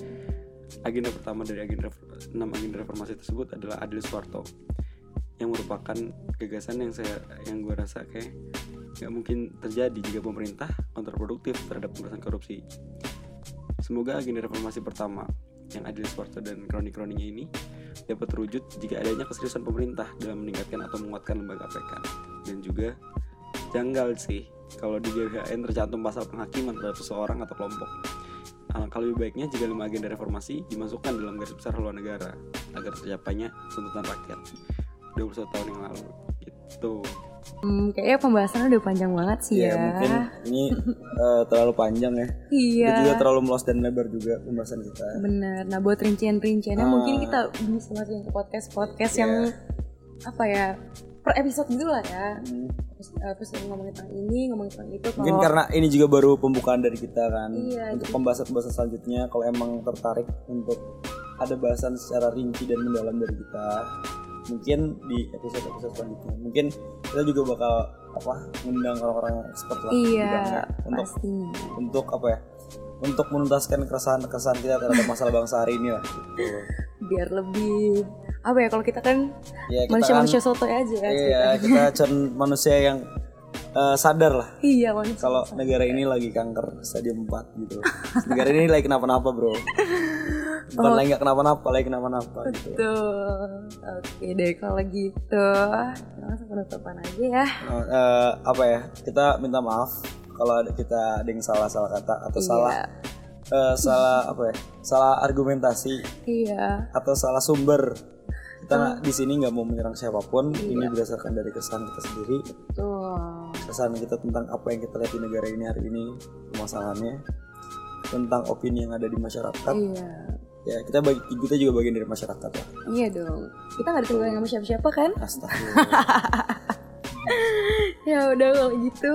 Speaker 1: agenda pertama dari agenda 6 agenda reformasi tersebut adalah Adil Suwarto yang merupakan gagasan yang saya yang gue rasa kayak nggak mungkin terjadi jika pemerintah kontraproduktif terhadap pemberantasan korupsi. Semoga agenda reformasi pertama yang Adil Suwarto dan kroni-kroninya ini dapat terwujud jika adanya keseriusan pemerintah dalam meningkatkan atau menguatkan lembaga KPK dan juga janggal sih kalau di GBHN tercantum pasal penghakiman terhadap seseorang atau kelompok. Alangkah lebih baiknya jika lima agenda reformasi dimasukkan dalam garis besar haluan negara agar tercapainya tuntutan rakyat 21 tahun yang lalu gitu.
Speaker 3: Hmm, kayaknya pembahasannya udah panjang banget sih ya.
Speaker 2: Ya, mungkin ini eh, terlalu panjang ya.
Speaker 3: Iya.
Speaker 2: Dan juga terlalu meluas dan lebar juga pembahasan kita.
Speaker 3: Bener. Nah, buat rincian-rinciannya
Speaker 2: Ah. Iya.
Speaker 3: mungkin kita bisa masukin ke podcast-podcast yang apa ya? Per episode gitu lah ya.
Speaker 2: Hmm.
Speaker 3: Terus, eh, terus ngomongin tentang ini, ngomongin tentang itu.
Speaker 2: Mungkin
Speaker 3: Kalau
Speaker 2: karena ini juga baru pembukaan dari kita kan.
Speaker 3: Oh. Iya,
Speaker 2: untuk
Speaker 3: jadi-
Speaker 2: pembahasan-pembahasan selanjutnya kalau emang tertarik untuk ada bahasan secara rinci dan mendalam dari kita, mungkin di episode-episode selanjutnya. Mungkin kita juga bakal apa ngundang orang-orang yang expert lah di bidangnya
Speaker 3: iya,
Speaker 2: untuk
Speaker 3: pastinya.
Speaker 2: untuk apa ya? Untuk menuntaskan keresahan-keresahan kita terhadap masalah bangsa hari ini lah. Gitu.
Speaker 3: Biar lebih apa ya kalau kita kan
Speaker 2: Ya, kita
Speaker 3: manusia-manusia
Speaker 2: kan-
Speaker 3: soto aja ya.
Speaker 2: Iya, kita cen- manusia yang eh, sadar lah
Speaker 3: Iya, manusia.
Speaker 2: kalau negara ini lagi kanker stadium 4 gitu. negara ini lagi kenapa-napa, Bro. Bukan lagi nggak kenapa-napa, lagi kenapa-napa gitu.
Speaker 3: Betul. Oke deh kalau gitu. Kita langsung penutupan aja ya.
Speaker 2: Eh, eh, apa ya? Kita minta maaf kalau ada, kita ada yang salah-salah kata atau
Speaker 3: Iya.
Speaker 2: salah eh, salah apa ya? Salah argumentasi
Speaker 3: Iya.
Speaker 2: atau salah sumber. Kita nggak- di sini nggak mau menyerang siapapun. Ini berdasarkan dari kesan kita sendiri,
Speaker 3: Betul.
Speaker 2: kesan kita tentang apa yang kita lihat di negara ini hari ini, permasalahannya, tentang opini yang ada di masyarakat.
Speaker 3: Iya.
Speaker 2: ya kita bagi kita juga bagian dari masyarakat ya. lah
Speaker 3: Iya dong. Kita nggak ditentuin sama siapa-siapa kan?
Speaker 2: astagfirullah
Speaker 3: Ya udah kalau gitu.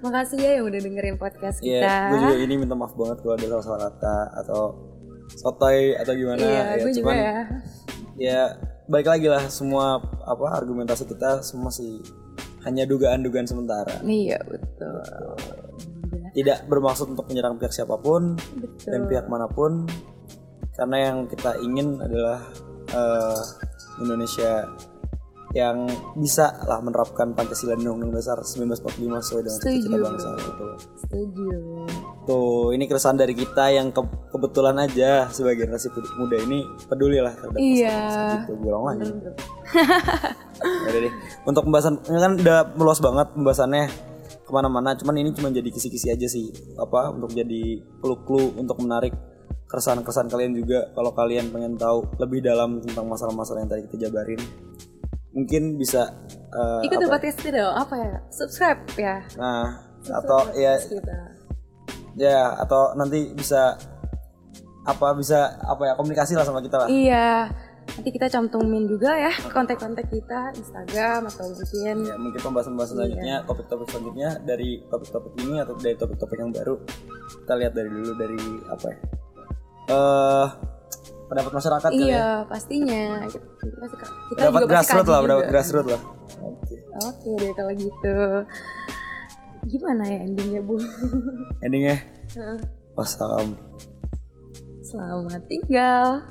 Speaker 3: Makasih ya yang udah dengerin podcast kita.
Speaker 2: ya gue juga ini minta maaf banget kalau ada salah salah kata atau sotoy atau gimana
Speaker 3: Iya,
Speaker 2: ya
Speaker 3: gue juga
Speaker 2: cuman
Speaker 3: ya.
Speaker 2: ya balik lagi lah semua apa argumentasi kita semua sih hanya dugaan-dugaan sementara
Speaker 3: Iya betul. Udah,
Speaker 2: tidak bermaksud untuk menyerang pihak siapapun
Speaker 3: Betul.
Speaker 2: dan pihak manapun karena yang kita ingin adalah eh, Indonesia yang bisa lah menerapkan Pancasila dan Undang-Undang Dasar 1945 sesuai dengan
Speaker 3: Setuju.
Speaker 2: cita-cita bangsa gitu.
Speaker 3: Setuju.
Speaker 2: Tuh, ini keresahan dari kita yang ke- kebetulan aja sebagai generasi pud- muda ini peduli lah terhadap
Speaker 3: Iya.
Speaker 2: masalah gitu. Bolong lagi.
Speaker 3: Bener dong.
Speaker 2: Udah deh. Untuk pembahasan ini kan udah meluas banget pembahasannya kemana-mana. Cuman ini cuma jadi kisi-kisi aja sih. Apa untuk jadi clue-clue untuk menarik keresahan-keresahan kalian juga. Kalau kalian pengen tahu lebih dalam tentang masalah-masalah yang tadi kita jabarin, mungkin bisa eh,
Speaker 3: Ikut
Speaker 2: apa ya?
Speaker 3: podcast kita dong. Apa ya? Subscribe ya.
Speaker 2: Nah,
Speaker 3: Subscribe
Speaker 2: atau ya
Speaker 3: podcast kita.
Speaker 2: ya atau nanti bisa apa bisa apa ya komunikasi lah sama kita lah.
Speaker 3: Iya. Nanti kita cantumin juga ya kontak-kontak kita Instagram atau mungkin
Speaker 2: Ya, mungkin pembahasan-pembahasan
Speaker 3: Iya.
Speaker 2: selanjutnya, topik-topik selanjutnya dari topik-topik ini atau dari topik-topik yang baru kita lihat dari dulu dari apa ya? Eh pendapat masyarakat kali ya.
Speaker 3: Iya, pastinya. Kita, pasti- kita juga
Speaker 2: Pendapat
Speaker 3: pasti
Speaker 2: grassroots
Speaker 3: kaji
Speaker 2: lah, pendapat
Speaker 3: juga.
Speaker 2: grassroots lah. Oke.
Speaker 3: Oke deh kalau gitu. Gimana ya endingnya Bu?
Speaker 2: Endingnya wassalam.
Speaker 3: Selamat tinggal.